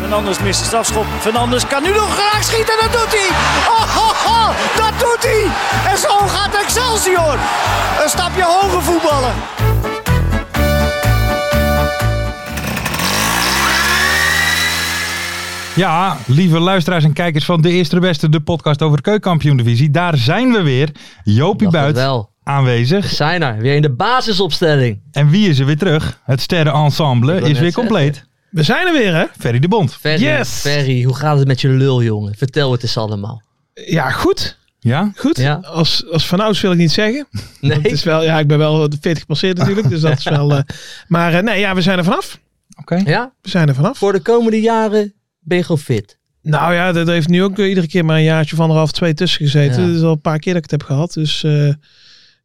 Fernandes mist de strafschop. Fernandes kan nu nog graag schieten. Dat doet hij. Oh, oh, oh, dat doet hij. En zo gaat Excelsior. Een stapje hoger voetballen. Ja, lieve luisteraars en kijkers van De Eerste de Beste, de podcast over de Keukenkampioen-divisie. Daar zijn we weer. Jopie Dacht het Buit wel. We aanwezig. zijn er. Weer in de basisopstelling. En wie is er weer terug? Het sterrenensemble wou is net weer compleet. We zijn er weer, hè? Ferry de Bond. Ferry, Yes! Ferry, hoe gaat het met je lul, jongen? Vertel het eens allemaal. Ja, goed. Ja? Goed. Ja. Als, als vanouds wil ik niet zeggen. Nee, Het is wel, ja, ik ben wel de 40 gepasseerd natuurlijk, dus dat is wel... eh, maar eh, nee, ja, we zijn er vanaf. Oké. ja? We zijn er vanaf. voor de komende jaren ben je gewoon fit. Nou ja, dat heeft nu ook iedere keer maar een jaartje of anderhalf, twee tussen gezeten. Ja. Dus al een paar keer dat ik het heb gehad. Dus eh,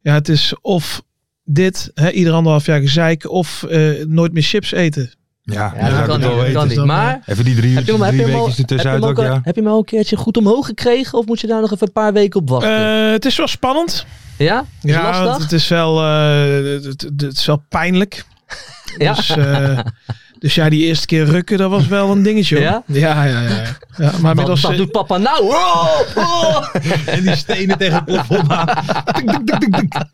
ja, het is of dit, hè, ieder anderhalf jaar gezeik, of eh, nooit meer chips eten. Ja, dan Ja, dat zou ik kan het niet. wel Dat weten. kan dus niet. dan, Maar Even die drie, heb je, hem, heb, drie je hem al, weken heb, je hem ertussenuit ook, ook, ja. heb je hem al een keertje goed omhoog gekregen? Of moet je daar nog even een paar weken op wachten? Eh, het is wel spannend. ja? Is het Ja, want lastig? het is wel, eh, het, het- het is wel pijnlijk. Ja. Dus, eh, dus ja, die eerste keer rukken, dat was wel een dingetje. hoor. Ja? Ja, ja, ja. ja. ja maar Wat, inmiddels... wat eh, doet papa nou? Oh, oh. En die stenen tegen het plafond aan. Tik, tik, tik, tik, tik.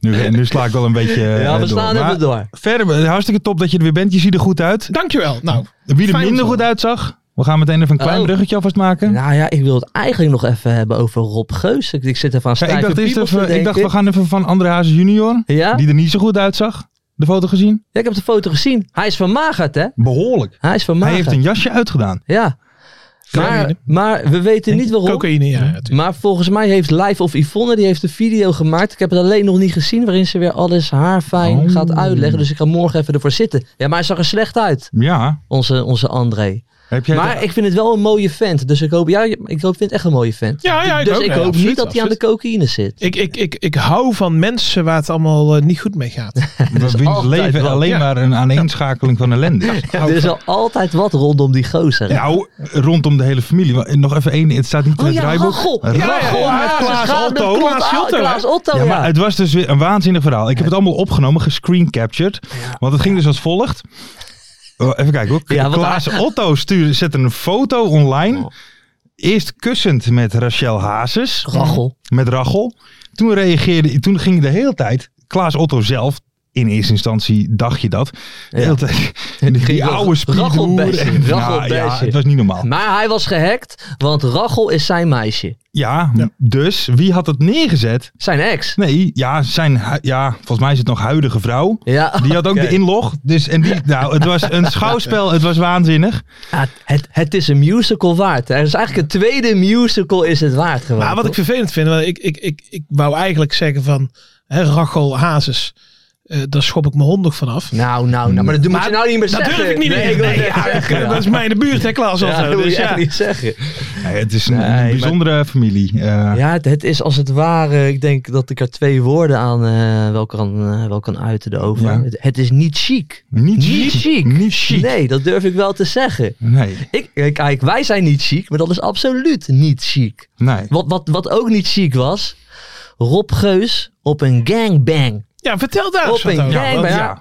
Nu, nu sla ik wel een beetje eh, Ja, we door. slaan Maar even door. Verder, eh, hartstikke top dat je er weer bent. Je ziet er goed uit. Dankjewel. Nou, Wie er Fijn minder zo. goed uitzag, we gaan meteen even een klein Oh. bruggetje alvast maken. Nou ja, ik wil het eigenlijk nog even hebben over Rob Geus. Ik, ik zit even aan Ja, stijve ik, dacht eerst piemels te even, ik dacht, denken. we gaan even van André Hazes junior, Ja? die er niet zo goed uitzag, de foto gezien. ja, ik heb de foto gezien. Hij is van Magat, hè? Behoorlijk. Hij is van Hij heeft Magat. een jasje uitgedaan. Ja. Maar, Cocaïne. maar we weten niet waarom. cocaïne, ja. natuurlijk. Maar volgens mij heeft Live of Yvonne die heeft een video gemaakt. Ik heb het alleen nog niet gezien. Waarin ze weer alles haarfijn Oh. gaat uitleggen. Dus ik ga morgen even ervoor zitten. Ja, maar hij zag er slecht uit. Ja, Onze, onze André. heb jij maar ik vind het wel een mooie vent. Dus ik hoop. Ja, ik hoop, vind het echt een mooie vent. Ja, ja, ik dus ook. ik Ja, hoop absoluut, niet dat hij aan de absoluut. cocaïne zit. Ik, ik, ik, ik hou van mensen waar het allemaal eh, niet goed mee gaat. we wiens altijd leven wel. alleen Ja. maar een aaneenschakeling van ellende. er is wel altijd wat rondom die gozer. hè? Nou, rondom de hele familie. Maar Nog even één, het staat niet in Oh het ja, draaiboek. Rachel. Rachel. Ja, ja, ja. met Ze Klaas schaamde Otto. Klot- Klaas ah, Otto, hè? Klaas Otto, Ja, ja. maar het was dus weer een waanzinnig verhaal. Ik heb het allemaal opgenomen, gescreen captured. Want het ging dus als volgt. Oh, Even kijken hoor. Ja, want Klaas Otto stuurde, zette een foto online. Eerst kussend met Rachel Hazes. Rachel. Met Rachel. Toen reageerde, toen ging de hele tijd Klaas Otto zelf. In eerste instantie dacht je dat. De hele tijd. Die, ging oude wel- spiegel. Rachelbesje, ja, Rachelbesje. het was niet normaal. Maar hij was gehackt, want Rachel is zijn meisje. Ja, dus wie had het neergezet? Zijn ex. Nee, ja, zijn, hu- ja, volgens mij is het nog huidige vrouw. Ja. Die had ook de inlog. Dus, en die, nou, het was een schouwspel. Het was waanzinnig. Ja, het, het is een musical waard. Er is eigenlijk een tweede musical is het waard gewoon. Maar Nou, wat ik vervelend vind, want ik, ik, ik, ik wou eigenlijk zeggen van hè, Rachel Hazes, eh, daar schop ik mijn hond nog vanaf. Nou, nou, nou. Maar dat moet Maar je nou niet meer dat zeggen. durf ik niet meer. wil Nee, het ja, zeggen, ja. Dat is mij in de buurt, hè, Klaas Ja, Otto. dat wil Dus je echt ja. niet zeggen. Nee, het is een, Nee, een maar- bijzondere familie. Eh, Ja, het, het is als het ware. Ik denk dat ik er twee woorden aan eh, wel, kan, eh, wel kan uiten erover. Ja. Het, het is niet chic. Niet Niet chic. Niet chic. Nee. Nee, dat durf ik wel te zeggen. Nee. Ik, eh, kijk, wij zijn niet chic, maar dat is absoluut niet chic. Wat, wat, wat ook niet chic was. Rob Geus op een gangbang. Ja, vertel daar Op eens wat een over. gang, Want- maar ja.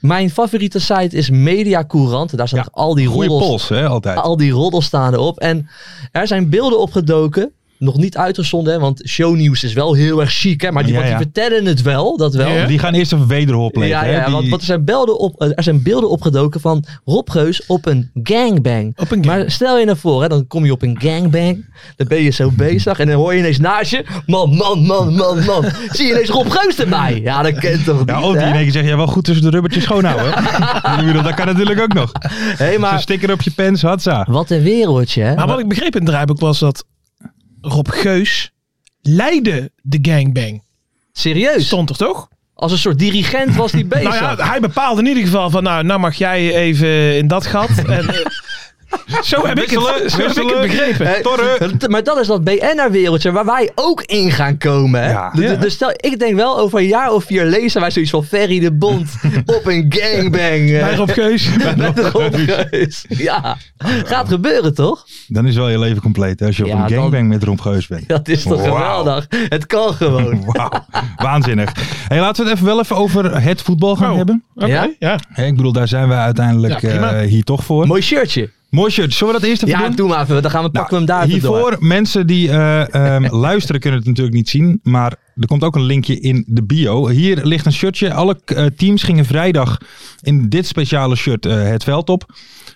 Mijn favoriete site is Media Courant. Daar staan Ja, al die Goeie roddels. pols, hè, altijd. Al die roddels staan erop. En er zijn beelden opgedoken nog niet uitgezonden, hè, want shownieuws is wel heel erg chic. Hè, maar die, Ja, want die ja. vertellen het wel, dat wel. Die gaan eerst even wederhoop plegen. Ja, hè? ja Die- want, want er, zijn beelden op, eh, er zijn beelden opgedoken van Rob Geus op een gangbang. Op een gang. Maar stel je nou voor, hè, dan kom je op een gangbang. Dan ben je zo bezig en dan hoor je ineens naast je... Man, man, man, man, man. zie je ineens Rob Geus erbij. Ja, dat kent toch ja, niet, ook die hè? in één keer zeggen, ja, wel goed tussen de rubbertjes schoonhouden. hè? Ik bedoel, dat kan natuurlijk ook nog. Hey, Zo'n maar sticker op je pens, hatsa. wat een wereldje, hè? Maar wat ik begreep in het draaiboek was dat Rob Geus leidde de gangbang. Serieus. Stond er toch? Als een soort dirigent was die bezig. Nou ja, hij bepaalde in ieder geval van nou, nou mag jij even in dat gat. En, eh, zo heb ik het, zo heb ik het begrepen. Hè? Het- Maar Eh, dat is dat BNR-wereldje waar wij ook in gaan komen. Hè? Ja. D- d- Ja. Dus stel, ik denk wel over een jaar of vier lezen wij zoiets van Ferry de Bond op een gangbang. eh, Bij Rob Geus. met de Rob Geus. Ja, gaat gebeuren toch? Dan is wel je leven compleet hè, als je Ja, op een dan- gangbang met Romp Geus bent. Dat is toch Wauw. geweldig? Het kan gewoon. Wauw, waanzinnig. Hey, laten we het even wel even over het voetbal gaan Oh. hebben. Oké, Ja? ja. Hey, ik bedoel, daar zijn we uiteindelijk Ja, prima. eh, hier toch voor. Mooi shirtje. Mooi shirt. Zullen we dat eerst even Ja, doen? doe maar even. Dan gaan we Nou, pakken we hem daar even hiervoor, door. mensen die eh, ehm, luisteren kunnen het natuurlijk niet zien, maar er komt ook een linkje in de bio. Hier ligt een shirtje. Alle eh, teams gingen vrijdag in dit speciale shirt eh, het veld op.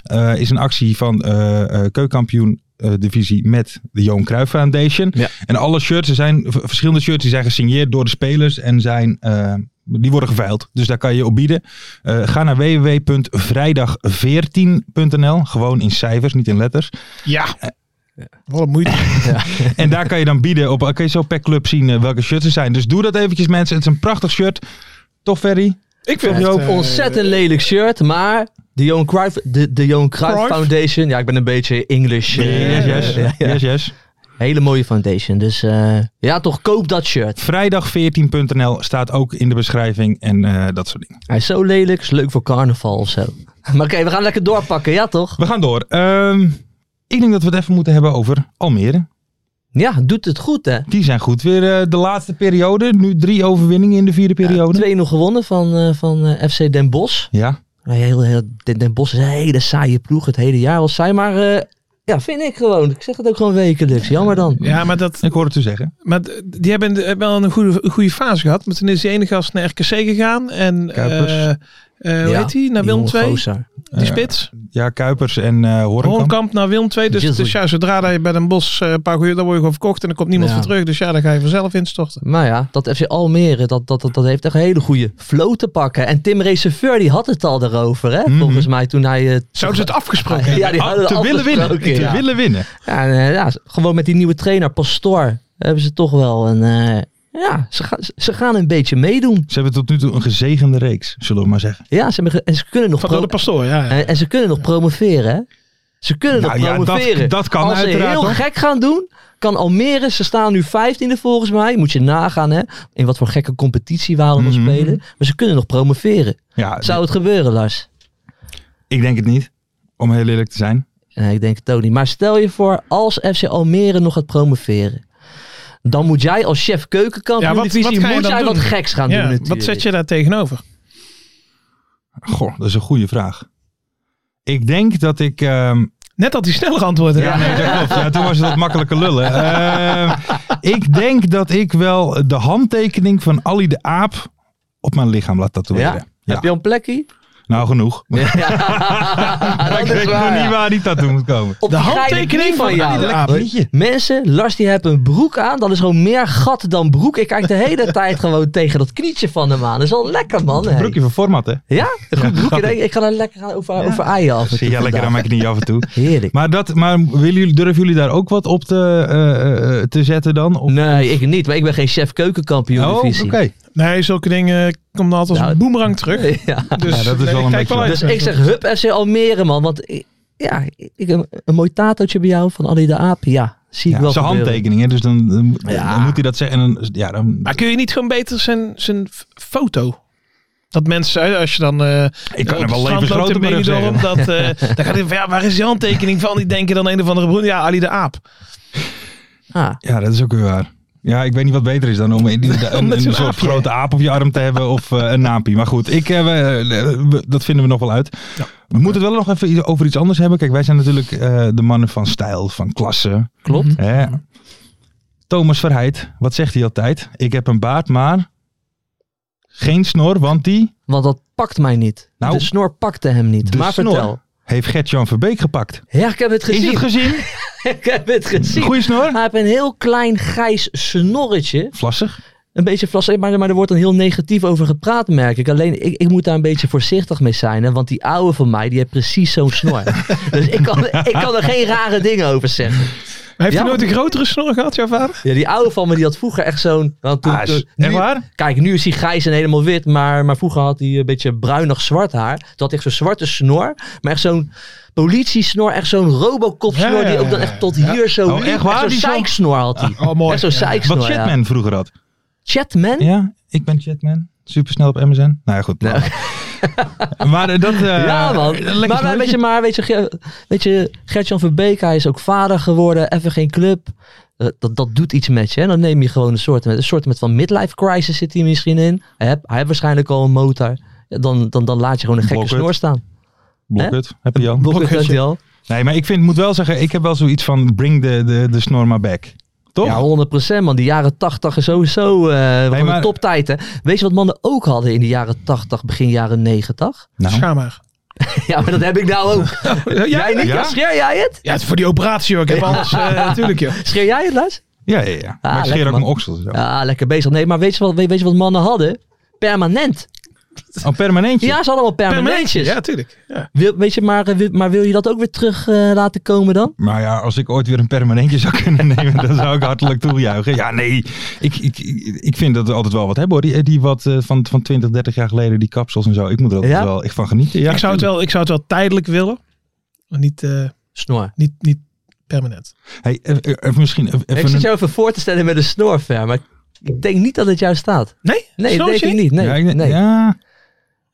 Eh, is een actie van eh eh keukenkampioen eh, divisie met de Johan Cruijff Foundation. Ja. En alle shirts, er zijn v- verschillende shirts, die zijn gesigneerd door de spelers en zijn... eh, die worden geveild, dus daar kan je op bieden. Eh, ga naar www.vrijdag14.nl. Gewoon in cijfers, niet in letters. ja. Wat een moeite. En daar kan je dan bieden op. Kan je zo per club zien eh, welke shirts er zijn. Dus doe dat eventjes mensen. Het is een prachtig shirt. Toch Ferry? Ik Vind je ook eh, Ontzettend lelijk shirt, maar de Johan Cruijff, de, de Johan Cruijff, Cruijff? Foundation. Ja, ik ben een beetje English. eh, Yes, yes. ja, ja. Yes, yes. Hele mooie foundation. Dus eh, ja, toch, koop dat shirt. Vrijdag14.nl staat ook in de beschrijving en eh, dat soort dingen. Hij is zo lelijk, is leuk voor carnaval of zo. Maar oké, we gaan lekker doorpakken, ja toch? We gaan door. Ehm, ik denk dat we het even moeten hebben over Almere. Ja, doet het goed hè. Die zijn goed. Weer eh, de laatste periode. Nu drie overwinningen in de vierde periode. 2-0 gewonnen van, eh, van eh, FC Den Bosch. Ja. Nou, Heel, heel, Den Den Bosch is een hele saaie ploeg, het hele jaar al saai. Maar eh, ja, vind ik gewoon. Ik zeg het ook gewoon wekelijks. Jammer dan. Ja, maar, dat, Ik hoor het u zeggen. maar d- die hebben de- wel een goede, een goede fase gehad. Maar toen is die ene gast naar RKC gegaan. En Kuipers. eh, eh, hoe Ja, heet die? Naar die Wilm jonge 2. gozer. Die spits. Ja, Kuipers en eh Horenkamp. Hoornkamp naar Wilm 2. Dus, Jizzle. dus ja, zodra dat je bij een bos eh, een paar goeie, dan word je gewoon verkocht. En dan komt niemand Ja. voor terug. Dus ja, dan ga je vanzelf instorten. Maar Nou ja, dat FC Almere, dat, dat, dat, dat heeft echt een hele goede flow te pakken. En Tim Receveur, die had het al daarover, hè? Mhm. Volgens mij toen hij... eh, Zouden ze het afgesproken hebben? ja, die Ah, hadden te willen winnen. afgesproken, Te ja. willen winnen. Ja, en, eh, ja, gewoon met die nieuwe trainer, Pastoor, hebben ze toch wel een... eh, ja, ze, ga- ze gaan een beetje meedoen. Ze hebben tot nu toe een gezegende reeks, zullen we maar zeggen. Ja, ze hebben ge- en, ze kunnen nog Van door de pro- pastoor, ja. ja. en, en ze kunnen nog promoveren, hè? Ze kunnen Nou nog ja, dat- promoveren. dat kan Als ze uiteraard, heel hoor. gek gaan doen, kan Almere, ze staan nu 15e volgens mij. Moet je nagaan, hè? In wat voor gekke competitie we allemaal Mhm. spelen. Maar ze kunnen nog promoveren. Ja, Zou het gebeuren, Lars? Ik denk het niet. Om heel eerlijk te zijn. Nee, ik denk het ook niet. Maar stel je voor, als FC Almere nog gaat promoveren. Dan moet jij als chef keukenkampioen Ja, wat- divisie, wat ga je moet dan jij doen? wat geks gaan doen Ja, natuurlijk. wat zet je daar tegenover? Goh, dat is een goede vraag. Ik denk dat ik. ehm, Net had hij sneller antwoorden. ja, nee, dat klopt. Ja, toen was het wat makkelijker lullen. Ehm, ik denk dat ik wel de handtekening van Ali de Aap op mijn lichaam laat Ja? tatoeëren. Ja. Heb je al een plekje? Ah, Nou, genoeg. dat ik is weet waar, nog ja. niet waar die tattoo moet komen. Op De die kleine handtekening knie van Ali de Aap. Ah, Weet je? Mensen, Lars die heeft een broek aan. Dat is gewoon meer gat dan broek. Ik kijk de hele tijd gewoon tegen dat knietje van hem aan. Dat is wel lekker, man. hey. Broekje van format, hè? Ja? Een goed broekje. denk ik. Ik ga daar lekker aan over, over aaien af en toe Zie jij lekker vandaag. aan mijn knie af en toe. Heerlijk. Maar, dat, maar willen jullie, durven jullie daar ook wat op te, eh, eh, te zetten dan? Of- Nee, ik niet. Maar ik ben geen chef keukenkampioen oh, oké. divisie. Nee, zulke dingen komen dan altijd als Nou, een boemerang terug. Ja. Dus Ja, dat is nee, wel een kijk beetje- uit. Dus ik zeg hup FC Almere, man. Want ik- ja, ik, een, een mooi tatootje bij jou van Ali de Aap. Ja, zie ik Ja, wel zijn gebeuren. handtekening, hè? dus dan, dan, dan Ja. moet hij dat zeggen. En dan, ja, dan, Maar kun je niet gewoon beter zijn, zijn f- foto? Dat mensen, als je dan eh ik op het strand loopt levensgrote in brug Benidorm, zeggen. dat, eh dan gaat hij van, ja, waar is die handtekening van? Die denken dan een of andere broer, ja, Ali de Aap. Ah, Ja, dat is ook weer waar. Ja, ik weet niet wat beter is dan om een, een, een, Met zo'n soort aapje. grote aap op je arm te hebben of eh, een naampie. Maar goed, ik, eh, we- we- dat vinden we nog wel uit. We moeten het wel nog even over iets anders hebben. Kijk, wij zijn natuurlijk eh, de mannen van stijl, van klasse. klopt. Hè? Thomas Verheid, wat zegt hij altijd? Ik heb een baard, maar geen snor, want die Want dat pakt mij niet. Nou, de snor pakte hem niet. de maar snor vertel. heeft Gert-Jan Verbeek gepakt. Ja, ik heb het gezien. Is het gezien? ik heb het gezien. Goeie snor? Hij heeft een heel klein grijs snorretje. Vlassig. Een beetje flas, eh, maar, maar er wordt dan heel negatief over gepraat, merk ik. Alleen, ik, ik moet daar een beetje voorzichtig mee zijn. Hè, want die oude van mij, die heeft precies zo'n snor. dus ik kan, ik kan er geen rare dingen over zeggen. Heeft Ja, hij nooit maar- een grotere snor gehad, jouw vader? Ja, die oude van me, die had vroeger echt zo'n... want toen- Ah, is- toen- echt nu- waar? Kijk, nu is hij grijs en helemaal wit. Maar, maar vroeger had hij een beetje bruinig zwart haar. Toen had hij echt zo'n zwarte snor. Maar echt zo'n politie-snor. Echt zo'n Ja, Robocop-snor. ja, Die ook dan ja, echt tot hier zo... Oh, echt waar? Zo'n Die zo'n- zeiksnor had hij. Oh, mooi. Echt zo'n zeiksnor, Wat ja. Hm? Chatman vroeger had. Chatman? Ja, ik ben Chatman. Supersnel op MSN. Nou ja, goed. Maar eh, dat... eh, Ja, man. een Maar, lekker maar weet je, snorretje. maar weet je, Ge- weet je Gert-Jan Verbeek, hij is ook vader geworden. Even geen club. Eh, Dat, dat doet iets met je. Hè? Dan neem je gewoon een soort, met, een soort met van midlife crisis zit hij misschien in. Hij heeft, hij heeft waarschijnlijk al een motor. Ja, Dan, dan, dan laat je gewoon een gekke Blokhut. snor staan. Blok Hè? het. Heb je al. Blokhut heeft hij al. Nee, maar ik vind, moet wel zeggen, ik heb wel zoiets van bring de, de, de snor maar back. Toch? Ja, 100% man. Die jaren 80 is sowieso eh gewoon maar- een toptijd. Hè? Weet je wat mannen ook hadden in de jaren 80, begin jaren 90? nou, Ga maar. Ja, maar dat heb ik nou ook. Ja, Jij niet? Ja? Ja? Scheer jij het? Ja, het is voor die operatie hoor. Ik heb alles, eh, natuurlijk joh. Scheer jij het, Lars? ja, ja, ja. Maar ik Ah, lekker, scheer ook man. mijn oksels. en zo. Ja, lekker bezig. Nee, maar weet je wat, weet, weet je wat mannen hadden? Permanent. Een Oh, permanentje. Ja, ze hadden allemaal permanentjes. Ja, tuurlijk. Ja. Wil, weet je, maar, eh, wil, maar wil je dat ook weer terug eh, laten komen dan? Maar ja, als ik ooit weer een permanentje zou kunnen nemen, dan zou ik hartelijk toejuichen. Ja, nee, ik, ik, ik vind dat we altijd wel wat hebben hoor. Die, die wat eh, van, van 20, 30 jaar geleden, die kapsels en zo. Ik moet er altijd Ja? wel echt van genieten. Ja, ik, zou het wel, ik zou het wel tijdelijk willen. Maar niet, eh, Snor. niet, niet permanent. Hey, eh, eh, even misschien even Ik zit een- jou even voor te stellen met een snor, Fer, maar ik denk niet dat het jou staat. Nee? Nee, dat Snorretje? denk ik niet. Nee, ja, ik- nee. ja.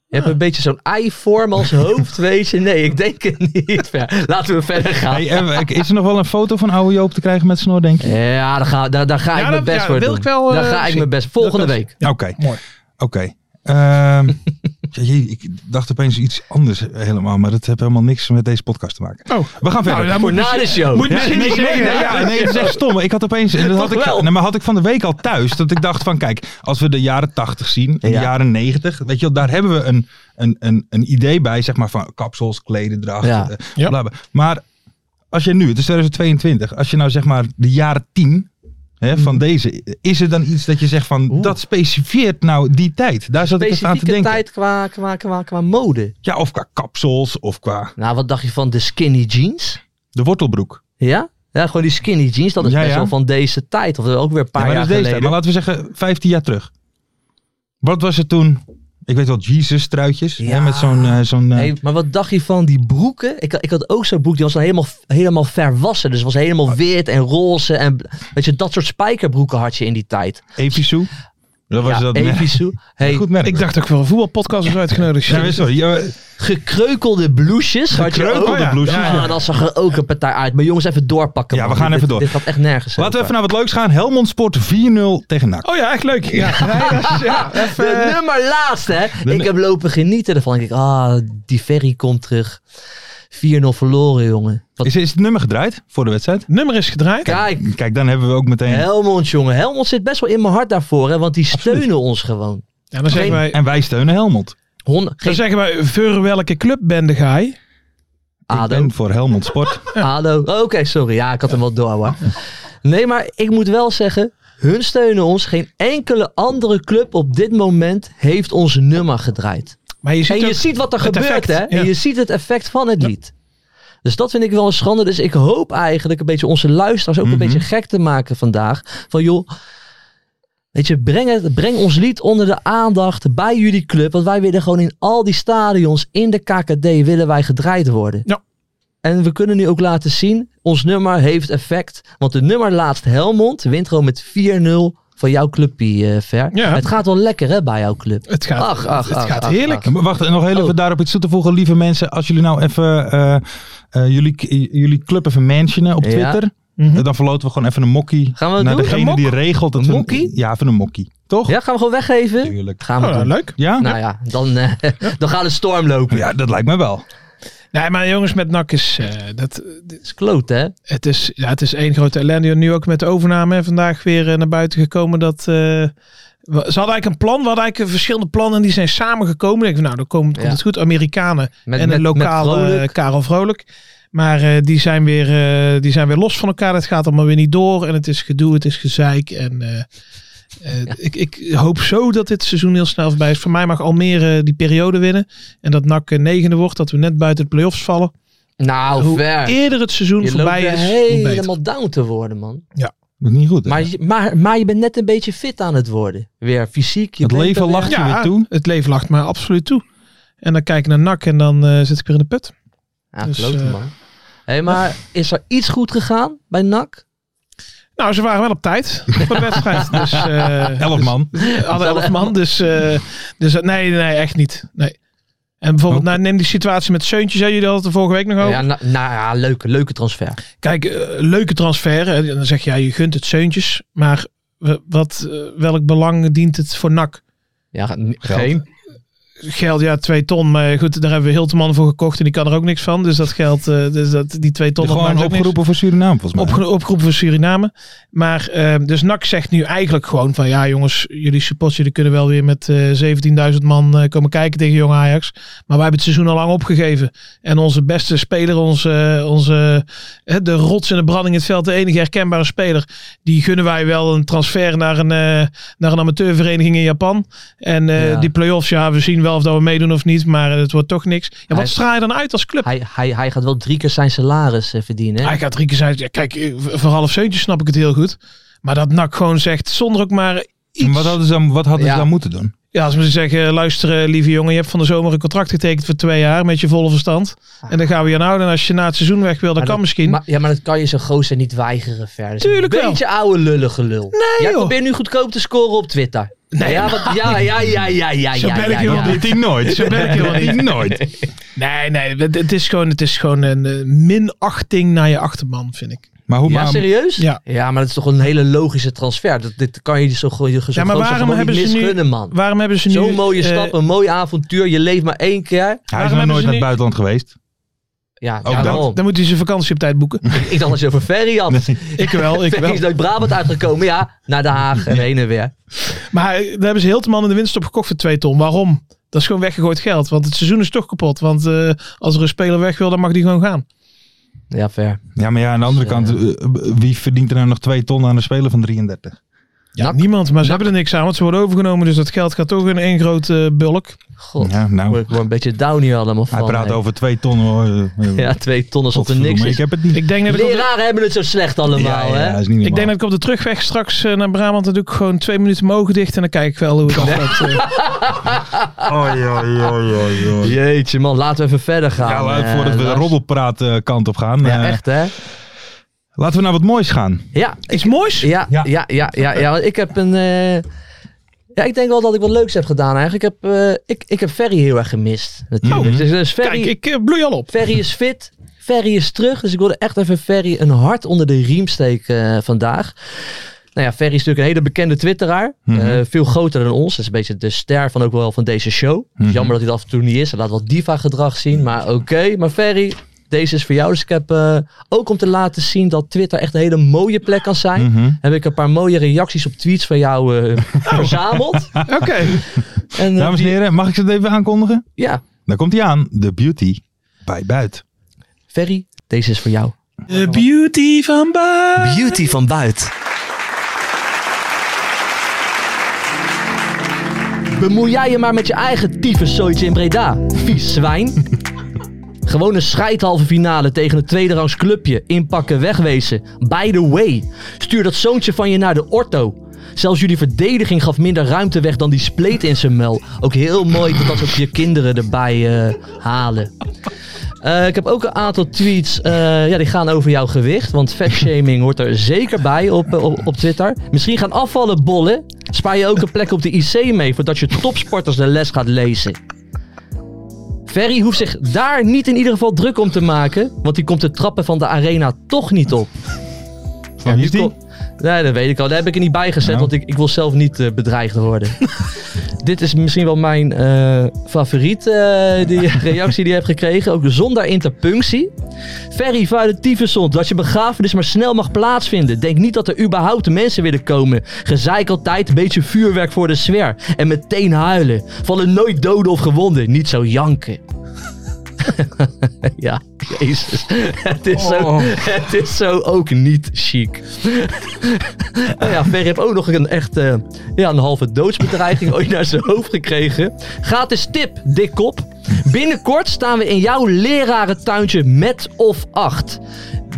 Je hebt een beetje zo'n ei-vorm als hoofd, weet je. Nee, ik denk het niet, Fer. Laten we verder gaan. Hey, eh, ik- is er nog wel een foto van oude Joop te krijgen met snor, denk je? Ja, daar ga, daar, daar ga Ja, ik dat- mijn best ja, voor wil doen. ik wel, daar eh, ga ik zien. mijn best. Volgende Dat- dat- week. Ja, Oké. mooi. Oké. Ehm, ja, jee, ik dacht opeens iets anders helemaal, maar dat heeft helemaal niks met deze podcast te maken. Oh. We gaan verder. daar Voor moet na de show. moet misschien nee, niet nee, zeggen, nee, hè? ja, nee, het is echt stom. Ik had opeens, en dat had Toch ik, wel? nee, maar had ik van de week al thuis, dat ik dacht van, kijk, als we de jaren 80 zien, en de Ja. jaren 90, weet je wel, daar hebben we een, een, een, een idee bij, zeg maar, van kapsels, klededracht, Ja. eh, Ja. bla, bla. Maar als je nu, het is 2022, als je nou zeg maar de jaren 10 hè, van Mhm. deze, is er dan iets dat je zegt van, dat specifieert nou die tijd? Daar zat ik eens aan te Specifieke denken. tijd qua, qua, qua, qua mode. Ja, of qua kapsels, of qua Nou, wat dacht je van de skinny jeans? de wortelbroek. Ja? Ja, gewoon die skinny jeans. Dat is Ja, best ja. wel van deze tijd. Of ook weer een Ja, paar maar jaar dat is deze tijd. geleden. Maar laten we zeggen 15 jaar terug. Wat was het toen? Ik weet wel, Jesus truitjes. Hè, Ja. met zo'n... eh, zo'n eh, Hey, maar wat dacht je van die broeken? Ik, ik had ook zo'n broek, die was dan helemaal, helemaal verwassen. Dus was Oh. helemaal wit en roze. En, weet je, dat soort spijkerbroeken had je in die tijd. Evisu. Dat was ja, dat merk. Evisu. Hey, Goed merk. Ik dacht ook wel een voetbalpodcast was uitgenodigd. Ja, sorry. Ja, gekreukelde blouses had je Gekreukelde ook. blouses, Ja, nou, ja. dat zag er ook een partij uit. Maar jongens, even doorpakken. Ja, we man. gaan Dit- even door. Dit gaat echt nergens laten we over. even naar wat leuks gaan. Helmond Sport 4-0 tegen NAC. Oh ja, echt leuk. Ja, ja, dat is- ja, even, De eh, nummer laatste, hè? Ik nu- heb lopen genieten ervan. Ik denk, ah, die ferry komt terug. 4-0 verloren, jongen. Wat Is, is het nummer gedraaid voor de wedstrijd? nummer is gedraaid. kijk, Kijk, dan hebben we ook meteen... Helmond, jongen. Helmond zit best wel in mijn hart daarvoor, hè? Want die steunen ons gewoon. Ja, dan zeggen Geen- wij, En wij steunen Helmond. Hond, dan geen zeggen wij, voor welke club ben de ga je? ADO. En voor Helmond Sport. ADO. Oh, Oké, sorry. Ja, ik had hem wel door, hoor. Nee, maar ik moet wel zeggen, hun steunen ons. Geen enkele andere club op dit moment heeft ons nummer gedraaid. Maar je ziet, En je ook- ziet wat er het gebeurt, effect, hè? ja. En je ziet het effect van het lied. Dus dat vind ik wel een schande. Dus ik hoop eigenlijk een beetje onze luisteraars Mhm. ook een beetje gek te maken vandaag. Van joh, weet je, breng, het, breng ons lied onder de aandacht bij jullie club. Want wij willen gewoon in al die stadions in de KKD willen wij gedraaid worden. Ja. En we kunnen nu ook laten zien, ons nummer heeft effect. Want de nummer laatst Helmond wint gewoon met 4-0 van jouw clubpie, eh Ver. Ja. Het gaat wel lekker hè, bij jouw club. Het gaat, Ach, ach, het ach, gaat ach, heerlijk. Ja, maar Wacht, en nog heel even Oh. daarop iets toe te voegen. Lieve mensen, als jullie nou even eh, eh, jullie, jullie club even mentionen op Ja. Twitter. Mhm. Dan verloten we gewoon even een mokkie. Gaan we dat naar doen? degene Een mok? die regelt. Dat Een we- mokkie? Ja, even een mokkie. Toch? Ja, gaan we gewoon weggeven? Tuurlijk. Gaan we Oh, doen. nou, leuk. Ja? Nou ja, dan, eh, dan gaat de storm lopen. ja, dat lijkt me wel. Nee, maar jongens, met NAC is... eh, dat, Het is kloot, hè? het, is, ja, het is één grote ellende. Nu ook met de overname. hè, Vandaag weer eh, naar buiten gekomen dat... eh, we- ze hadden eigenlijk een plan, we hadden eigenlijk verschillende plannen en die zijn samengekomen. Ik denk, nou, dan komt, komt Ja. het goed. Amerikanen Met- en met- een met lokale Vrolijk. eh, Karel Vrolijk. Maar eh, die, zijn weer, eh, die zijn weer los van elkaar. Het gaat allemaal weer niet door. En het is gedoe, het is gezeik. En eh, eh, ik, ik hoop zo dat dit seizoen heel snel voorbij is. Voor mij mag Almere die periode winnen. En dat NAC eh, negende wordt. Dat we net buiten de play-offs vallen. Nou, Hoe ver. Eerder het seizoen Je loopt voorbij er is, hoe beter. helemaal down te worden, man. Dat is niet goed. hè? Maar, je- maar, maar je bent net een beetje fit aan het worden. Weer fysiek. Je het bent leven er weer- lacht je weer toe. het leven lacht me absoluut toe. En dan kijk ik naar NAC en dan eh, zit ik weer in de put. Ja, Dus, klote, eh, man. hey, maar is er iets goed gegaan bij NAC? Nou, ze waren wel op tijd voor de wedstrijd. Dus, eh, Elf man. Alle elf man, dus, eh, dus eh, nee, nee, echt niet. Nee. En bijvoorbeeld, Oké. nou, neem die situatie met Seuntje, zei jullie al de vorige week nog over. Ja, na- nou ja, leuke, leuke transfer. Kijk, eh, leuke transfer. hè. En dan zeg je, ja, je gunt het Seuntjes. Maar w- wat, eh, welk belang dient het voor NAC? Ja, n- geen. Geld, ja, twee ton. Maar goed, daar hebben we Hilteman voor gekocht en die kan er ook niks van. Dus dat geld, eh, dus dat, die twee ton, dat maakt Gewoon ook niks. opgeroepen voor Suriname volgens mij. Opge opgeroepen voor Suriname. Maar eh, dus NAC zegt nu eigenlijk gewoon van ja jongens, jullie supporters jullie kunnen wel weer met eh 17.000 man eh, komen kijken tegen Jong Ajax. Maar wij hebben het seizoen al lang opgegeven. En onze beste speler, onze, eh, onze eh, de rots in de branding in het veld, de enige herkenbare speler, die gunnen wij wel een transfer naar een, eh, naar een amateurvereniging in Japan. En eh, Ja. die play-offs, ja we zien wel of dat we meedoen of niet, maar het wordt toch niks. Ja, Hij- wat straal je dan uit als club? Hij, hij, hij gaat wel drie keer zijn salaris eh, verdienen. hè? Hij gaat drie keer zijn. Ja, kijk, eh, voor half zeuntje snap ik het heel goed. Maar dat NAC gewoon zegt, zonder ook maar iets. En wat hadden ze dan, wat hadden Ja. ze dan moeten doen? Ja, als we zeggen, luister eh, lieve jongen, je hebt van de zomer een contract getekend voor twee jaar met je volle verstand. En dan gaan we je aan houden. En als je na het seizoen weg wil, dan Ah. Maar kan misschien. Maar, ja, maar dat kan je zo'n gozer niet weigeren verder. Tuurlijk een wel. beetje oude lullige lul. Nee, Jij joh. probeert nu goedkoop te scoren op Twitter. Nee, ja, wat, ja, ja, ja, ja, ja, Zo ja, ben ik ja, helemaal ja. niet. hij nooit. Zo ben ik helemaal niet. nooit. Nee, nee, het, het is gewoon, het is gewoon een eh, minachting naar je achterban, vind ik. Maar hoe Ja, maar, serieus? Ja. maar dat is toch een hele logische transfer. Dat, dit kan je zo zo Ja, maar waarom hebben, niet ze nu, misgunnen, man. waarom hebben ze nu... Zo'n mooie eh, stap, een mooi avontuur. Je leeft maar één keer. Hij Waarom is nog hebben nooit ze naar het nu- buitenland geweest. Ja, Ook ja, dat. daarom. Dan moet hij zijn vakantie op tijd boeken. Ik dacht als je over Ferry had. ik wel, ik Ferry wel. is uit Brabant uitgekomen. Ja, naar Den Haag en heen en weer. Maar eh, daar hebben ze Hilteman in de winst op gekocht voor 2 ton. Waarom? Dat is gewoon weggegooid geld. Want het seizoen is toch kapot. Want eh, als er een speler weg wil, dan mag die gewoon gaan. Ja, ver. Ja, maar ja, aan de andere Ja. kant, eh, eh, wie verdient er nou nog twee ton aan een speler van 33? Ja, niemand. Maar ze hebben er niks aan. Want ze worden overgenomen. Dus dat geld gaat toch in één grote eh, bulk. God, Ja, nou, word ik word een beetje down hier allemaal van. hij praat hè. over twee ton hoor. Eh, eh, Ja, twee tonnen alsof er godverdomme, niks is. Ik heb het niet. Ik denk dat ik op de, Leraren hebben het zo slecht allemaal, ja, ja, hè? is niet ik denk normaal. dat ik op de terugweg straks eh, naar Brabant. Dan doe ik gewoon twee minuten mogen dicht. En dan kijk ik wel hoe het afloopt. eh. Oei, oei, oei, oei, oei. Jeetje man, laten we even verder gaan. Ja, laat- eh, voordat we de Lars. roddelpraat eh, kant op gaan. Ja, eh, echt hè? Laten we naar wat moois gaan. Ja, Iets moois. ja, Ja. ja, ja, ja, ja, want ik heb een... eh, Ja, ik denk wel dat ik wat leuks heb gedaan eigenlijk. Ik heb, eh, ik, ik heb Ferry heel erg gemist. Natuurlijk. Oh. Dus, dus Ferry, Kijk, ik eh, bloei al op. Ferry is fit. Ferry is terug. Dus ik wilde echt even Ferry een hart onder de riem steken eh, vandaag. Nou ja, Ferry is natuurlijk een hele bekende twitteraar. Mhm. Eh, veel groter dan ons. Dat is een beetje de ster van ook wel van deze show. Mhm. Jammer dat hij dat af en toe niet is. Hij laat wel diva gedrag zien. Maar oké. Maar Ferry, deze is voor jou. Dus ik heb eh, ook om te laten zien dat Twitter echt een hele mooie plek kan zijn. Mhm. Heb ik een paar mooie reacties op tweets van jou eh, verzameld. Oké. En, eh, Dames en die- heren, mag ik ze het even aankondigen? Ja, Daar komt hij aan. De beauty bij buit. Ferry, deze is voor jou. De beauty van Ba. Beauty van buiten. Bemoei jij je maar met je eigen tyfuszooitje in Breda, vies zwijn. Gewoon een scheidhalve finale tegen een tweederangs clubje. Inpakken, wegwezen. By the way, stuur dat zoontje van je naar de orto. Zelfs jullie verdediging gaf minder ruimte weg dan die spleet in zijn mel. Ook heel mooi dat dat ze ook je kinderen erbij eh, halen. Eh, ik heb ook een aantal tweets. eh, ja, die gaan over jouw gewicht. Want fatshaming hoort er zeker bij op, eh, op, op Twitter. Misschien gaan afvallen bollen. Spaar je ook een plek op de IC mee voordat je topsporters de les gaat lezen. Ferry hoeft zich daar niet in ieder geval druk om te maken. Want die komt de trappen van de arena toch niet op. Van Ja, wie nu is die? kon- Nee, dat weet ik al. Daar heb ik er niet bij gezet, Nou. want ik, ik wil zelf niet eh, bedreigd worden. dit is misschien wel mijn eh favoriet, eh, die reactie die je hebt gekregen. Ook zonder interpunctie. Ferry vuile tyfusond, dat je begrafenis maar snel mag plaatsvinden. Denk niet dat er überhaupt mensen willen komen. Gezeik altijd, een beetje vuurwerk voor de sfeer. En meteen huilen. Vallen nooit doden of gewonden. Niet zo janken. ja, jezus. Het is, Oh. zo, het is zo ook niet chic. Oh ja, Ferry heeft ook nog een echt eh, ja, een halve doodsbedreiging ooit naar zijn hoofd gekregen. Gratis tip, dik kop. Binnenkort staan we in jouw lerarentuintje met of acht.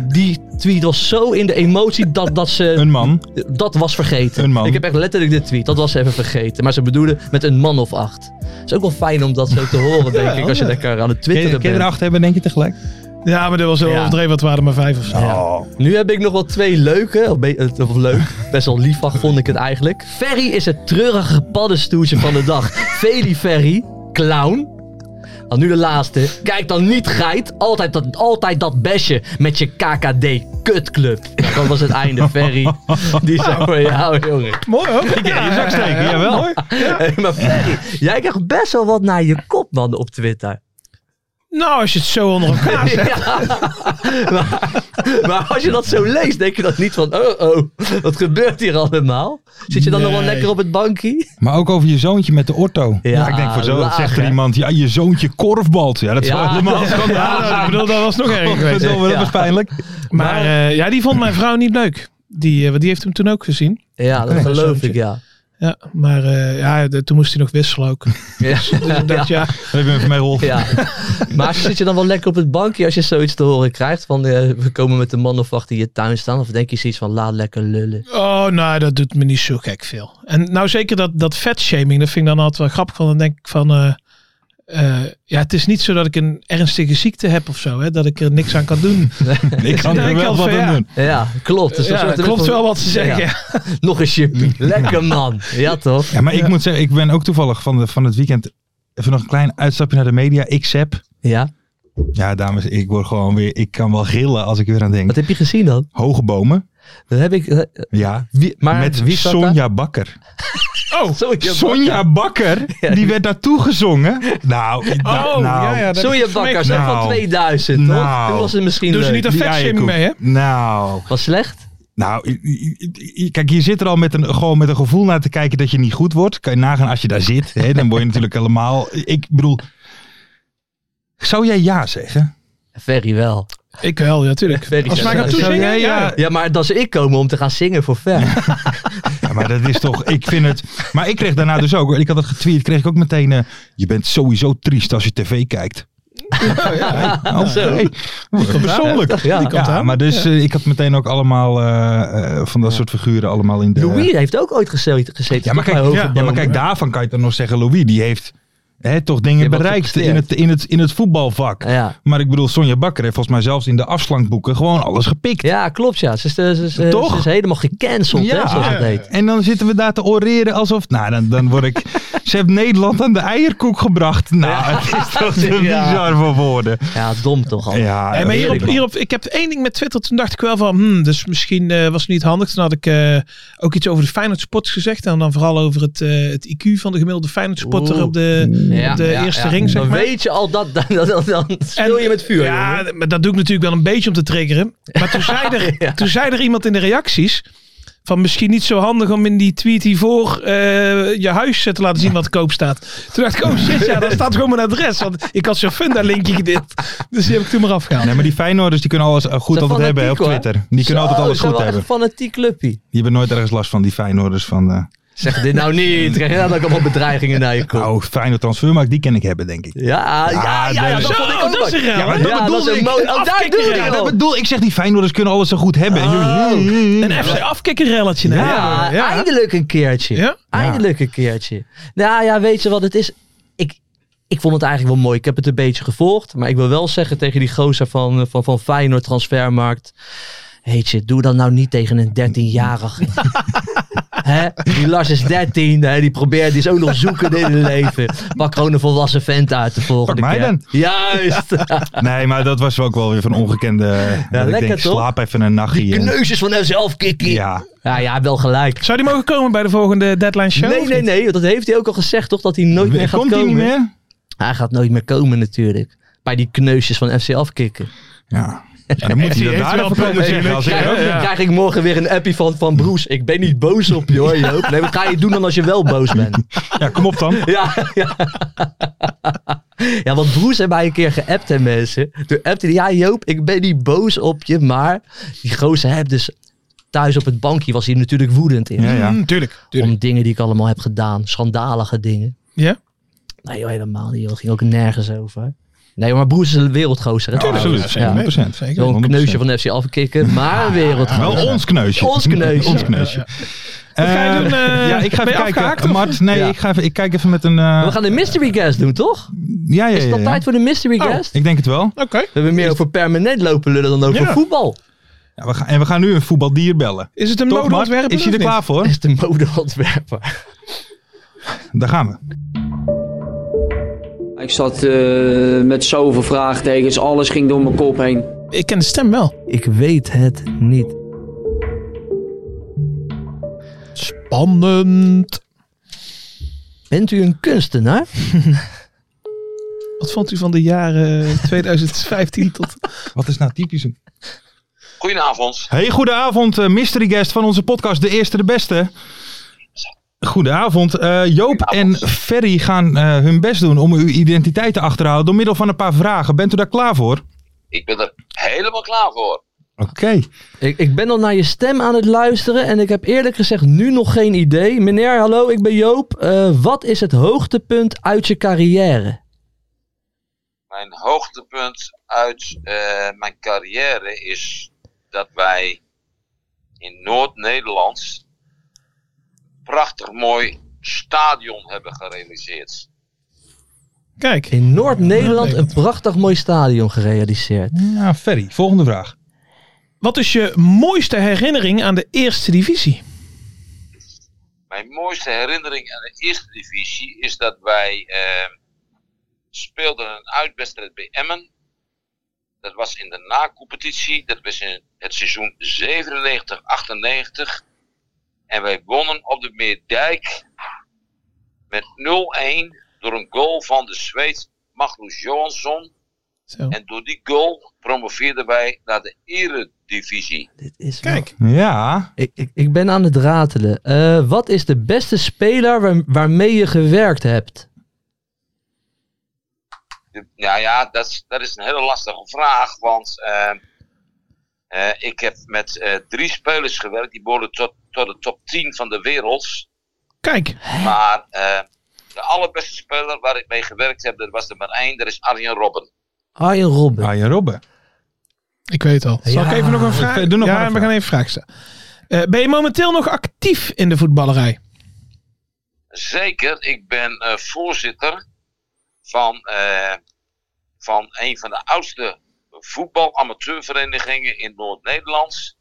Die tweet was zo in de emotie dat, dat ze... Een man. Dat was vergeten. Een man. Ik heb echt letterlijk dit tweet. Dat was even vergeten. Maar ze bedoelen met een man of acht. is ook wel fijn om dat zo te horen, denk ik. Als je lekker aan het Kun je, twitteren kun je bent. er acht hebben, denk je tegelijk? Ja, maar dat was wel Ja. overdreven. Wat waren er maar vijf of zo. Nu heb ik nog wel twee leuke. Of, be- eh, of leuk. Best wel liefag vond ik het eigenlijk. Ferry is het treurige paddenstoeltje van de dag. Feli Ferry, clown. Dan nu de laatste. Kijk dan niet geit. Altijd dat, altijd dat besje met je KKD kutclub. Nou, dat was het einde, Ferry. Die zijn voor jou, jongen. Mooi hoor. Ik Ja, je zak steken, jawel. Hey, maar Ferry, jij krijgt best wel wat naar je kop, man, op Twitter. Nou, als je het zo onder elkaar... Ja. maar, maar als je dat zo leest, denk je dat niet van, oh oh, wat gebeurt hier allemaal? Zit je dan nog wel Nee. lekker op het bankje? Maar ook over je zoontje met de orto. Ja, Ja, ik denk voor zo, laag, dat zegt er hè? iemand, ja, je zoontje korfbalt. Ja, dat is Ja. wel helemaal schandalig. Ja, nou, Oh, ik bedoel, dat was nog erg Dat geweest. is wel- dat Ja. was pijnlijk. Maar eh, ja, die vond mijn vrouw niet leuk. Die, eh, want die heeft hem toen ook gezien. Ja, dat geloof ik, ja. Ja, maar eh, ja, de- toen moest hij nog wisselen ook. Ja. Dus ik dacht, ja. eh, Even met mij Rolf. Ja. Maar zit je dan wel lekker op het bankje als je zoiets te horen krijgt? Van eh, we komen met een man of acht in je tuin staan. Of denk je zoiets van laat lekker lullen. Oh, nou, dat doet me niet zo gek veel. En nou, zeker dat, dat vetshaming, dat vind ik dan altijd wel grappig. Want dan denk ik van, eh, eh, ja, het is niet zo dat ik een ernstige ziekte heb of zo. Hè, dat ik er niks aan kan doen. Ik kan Ja, er ik wel kan wat van, ja. aan doen. Ja, klopt. Dus dat ja, soort- dat klopt van- wel wat ze zeggen. Ja. Nog een chippie. Lekker man. Ja toch? Ja, maar ik moet zeggen, ik ben ook toevallig van, de, van het weekend... Even nog een klein uitstapje naar de media. Ik sep. Ja. Ja, dames, ik word gewoon weer... Ik kan wel gillen als ik er weer aan denk. Wat heb je gezien dan? Hoge bomen. Dat heb ik... eh, Ja. wie, maar met wie zat daar? Sonja Bakker. Oh, Sonja Sonja Bakker, die werd naartoe gezongen. Nou, ik- nou, nou, dat heb ik Sonja vermengd. Bakker, zeg van Nou. 2000, toch? Nou. Toen was het misschien Doe ze leuk. niet aan die vetshaming eierkoek. mee, hè? Nou, Was slecht? nou, i- i- i- kijk, je zit er al met een, gewoon met een gevoel naar te kijken dat je niet goed wordt. Kan je nagaan als je daar zit, hè, dan word je natuurlijk helemaal... Ik bedoel, zou jij ja zeggen? Ferry wel. Ik wel, ja, natuurlijk. Ferry Als ze mij zegt gaan dat. toezingen, ja, ja. Ja, maar dan zou ik komen om te gaan zingen voor Fer. Ja, maar dat is toch, ik vind het... Maar ik kreeg daarna dus ook, ik had het getweet, kreeg ik ook meteen... eh, je bent sowieso triest als je tv kijkt. Oh, Zo. hey, Persoonlijk. Ja, die Ja, maar dus eh, ik had meteen ook allemaal eh, eh, van dat soort figuren allemaal in de... Louis heeft ook ooit gezeten. gezeten Ja, maar toch, kijk, bij ja, Hogenboom? maar kijk, daarvan kan je dan nog zeggen, Louis, die heeft hè, toch dingen Die heeft wat bereikt in gepresteerd. het, in, het, in het voetbalvak. Ja. Maar ik bedoel, Sonja Bakker heeft volgens mij zelfs in de afslankboeken gewoon alles gepikt. Ja, klopt ja. Ze is, eh, ze is, ze Toch? is helemaal gecanceld, Ja. hè, zoals het heet. En dan zitten we daar te oreren alsof, nou, dan, dan word ik, ze heeft Nederland aan de eierkoek gebracht. Nou, het is toch te Ja. bizar voor woorden. Ja, dom toch al. Ja, Hey, maar hierop, heerlijk. hierop, ik heb één ding met Twitter. Toen dacht ik wel van, hmm, dus misschien eh, was het niet handig. Toen had ik eh, ook iets over de Feyenoord spots gezegd. En dan vooral over het, eh, het IQ van de gemiddelde Feyenoord spotter Oeh. op de, Ja, op de ja, eerste ja. ring, zeg dan maar. weet je al dat, dan, dan, dan, dan speel je met vuur. Ja, jongen. maar dat doe ik natuurlijk wel een beetje om te triggeren. Maar toen zei er, Ja. toen zei er iemand in de reacties... Van misschien niet zo handig om in die tweet hiervoor eh, je huis eh, te laten zien wat te koop staat. Toen dacht ik, oh shit, ja, daar staat gewoon mijn adres. Want ik had zo'n funda linkje gedicht. Dus die heb ik toen maar afgehaald. Nee, maar die Feyenoorders die kunnen alles eh, goed Ze altijd hebben hè, op fanatiek, Twitter. Die kunnen Zo, altijd alles ze zijn goed wel echt hebben. een fanatiek clubpie. Die hebben nooit ergens last van die Feyenoorders van... eh, Zeg dit nou niet. Krijg je nou ook allemaal bedreigingen naar je kop. Oh, fijne transfermarkt, die ken ik hebben, denk ik. Ja, ja, ja, ja, dat- dat vond ik ook dat is leuk. een raar. Ja, maar Ja, dat dat bedoel is een ik. mo- Oh, daar doe je Ja, het dat op. bedoel ik. zeg die Feyenoorders kunnen alles zo goed hebben. Ah. Een FC afkikkerrelletje. nou. Ja, eindelijk een keertje. Ja? Eindelijk een keertje. Nou ja, weet je wat het is? Ik, ik vond het eigenlijk wel mooi. Ik heb het een beetje gevolgd. Maar ik wil wel zeggen tegen die gozer van, eh, van, van Feyenoord Transfermarkt. Heet je, doe dat nou niet tegen een 13-jarige. Hè? Die Lars is 13, hè? die probeert, die is ook nog zoekend in het leven. Pak gewoon een volwassen vent uit de volgende Pak mij keer. dan. Juist. Nee, maar dat was ook wel weer van ongekende... dat ik lekker denk, toch? slaap even een nachtje. Die en- kneusjes van hemzelf, Kiki. Ja. Ja, ja, wel gelijk. Zou die mogen komen bij de volgende Deadline Show? Nee, of nee, niet? nee. want Dat heeft hij ook al gezegd, toch? Dat hij nooit meer gaat komt hij komen. niet meer? Hij gaat nooit meer komen, natuurlijk. Bij die kneusjes van FC afkicken. Ja. En dan moet heeft hij dat hij daar wel dan voor komen problemen zeggen. Als ik, Krijg, krijg ik morgen weer een appie van, van Broes. Ik ben niet boos op je hoor, Joop. Nee, wat ga je doen dan als je wel boos bent? ja, kom op dan. Ja, ja. ja want Broes heeft mij een keer geappt en mensen. Toen appte hij, ja Joop, ik ben niet boos op je, maar die gozer heb dus thuis op het bankje was hij natuurlijk woedend in. Ja, ja. Mm, tuurlijk. tuurlijk. Om dingen die ik allemaal heb gedaan, schandalige dingen. Ja? Nee joh, helemaal niet joh, ging ook nergens over. Nee, maar Broes is een wereldgozer. hè, Tuurlijk, trouwens. absoluut. Ja. 100%. Zeker. Zo'n 100%. kneusje van de FC afkicken, maar een wereldgozer. Wel ons kneusje. Ons kneusje. ons kneusje. Wat ga je Eh, doen, eh, ja, ik ga ben even je afgehaakt, kijken. of? Mart, nee, Ja. ik, ga even, ik kijk even met een... eh, We gaan een mystery guest doen, toch? ja, ja, Is het ja, al ja. tijd voor de mystery Oh. guest? Ik denk het wel. Oké. We hebben meer over permanent lopen lullen dan over Ja. voetbal. Ja, we gaan, en we gaan nu een voetbaldier bellen. Is het een Toch, Mart? modeontwerper? Is je er of niet? klaar voor? Dat is de modeontwerper. Daar gaan we. Ik zat eh, met zoveel vraagtekens, alles ging door mijn kop heen. Ik ken de stem wel. Ik weet het niet. Spannend. Bent u een kunstenaar? Wat vond u van de jaren 2015 tot... Wat is nou typisch een... Goedenavond. Hey, goedenavond, eh, mystery guest van onze podcast De Eerste de Beste. Goedenavond. Eh, Joop en Ferry gaan eh, hun best doen om uw identiteit te achterhalen door middel van een paar vragen. Bent u daar klaar voor? Ik ben er helemaal klaar voor. Oké. Ik, ik ben al naar je stem aan het luisteren en ik heb eerlijk gezegd nu nog geen idee. Meneer, hallo, ik ben Joop. Eh, wat is het hoogtepunt uit je carrière? Mijn hoogtepunt uit eh, mijn carrière is dat wij in Noord-Nederland een prachtig mooi stadion hebben gerealiseerd. Kijk. In Noord-Nederland een prachtig mooi stadion gerealiseerd. Ja, Ferry, volgende vraag. Wat is je mooiste herinnering aan de eerste divisie? Mijn mooiste herinnering aan de eerste divisie is dat wij eh, speelden een uitwedstrijd bij Emmen. Dat was in de na-competitie. Dat was in het seizoen 97-98. En wij wonnen op de Meerdijk met 0-1 door een goal van de Zweed Magnus Johansson. Zo. En door die goal promoveerden wij naar de Eredivisie. Dit is wel- Kijk. Ja, Ik, ik, ik ben aan het ratelen. Eh, wat is de beste speler waar- waarmee je gewerkt hebt? De- Nou ja, dat is, dat is een hele lastige vraag. Want eh, eh, ik heb met eh, drie spelers gewerkt. Die behoren tot, tot de top 10 van de wereld. Kijk. Maar eh, de allerbeste speler waar ik mee gewerkt heb, dat was er maar één. Dat is Arjen Robben. Arjen Robben. Arjen Robben. Ik weet het al. Zal Ja. ik even nog een vraag? Doe nog ja, maar een we vraag. gaan even een vraag stellen. Eh, ben je momenteel nog actief in de voetballerij? Zeker, ik ben eh, voorzitter van, eh, van een van de oudste voetbalamateurverenigingen in Noord-Nederland.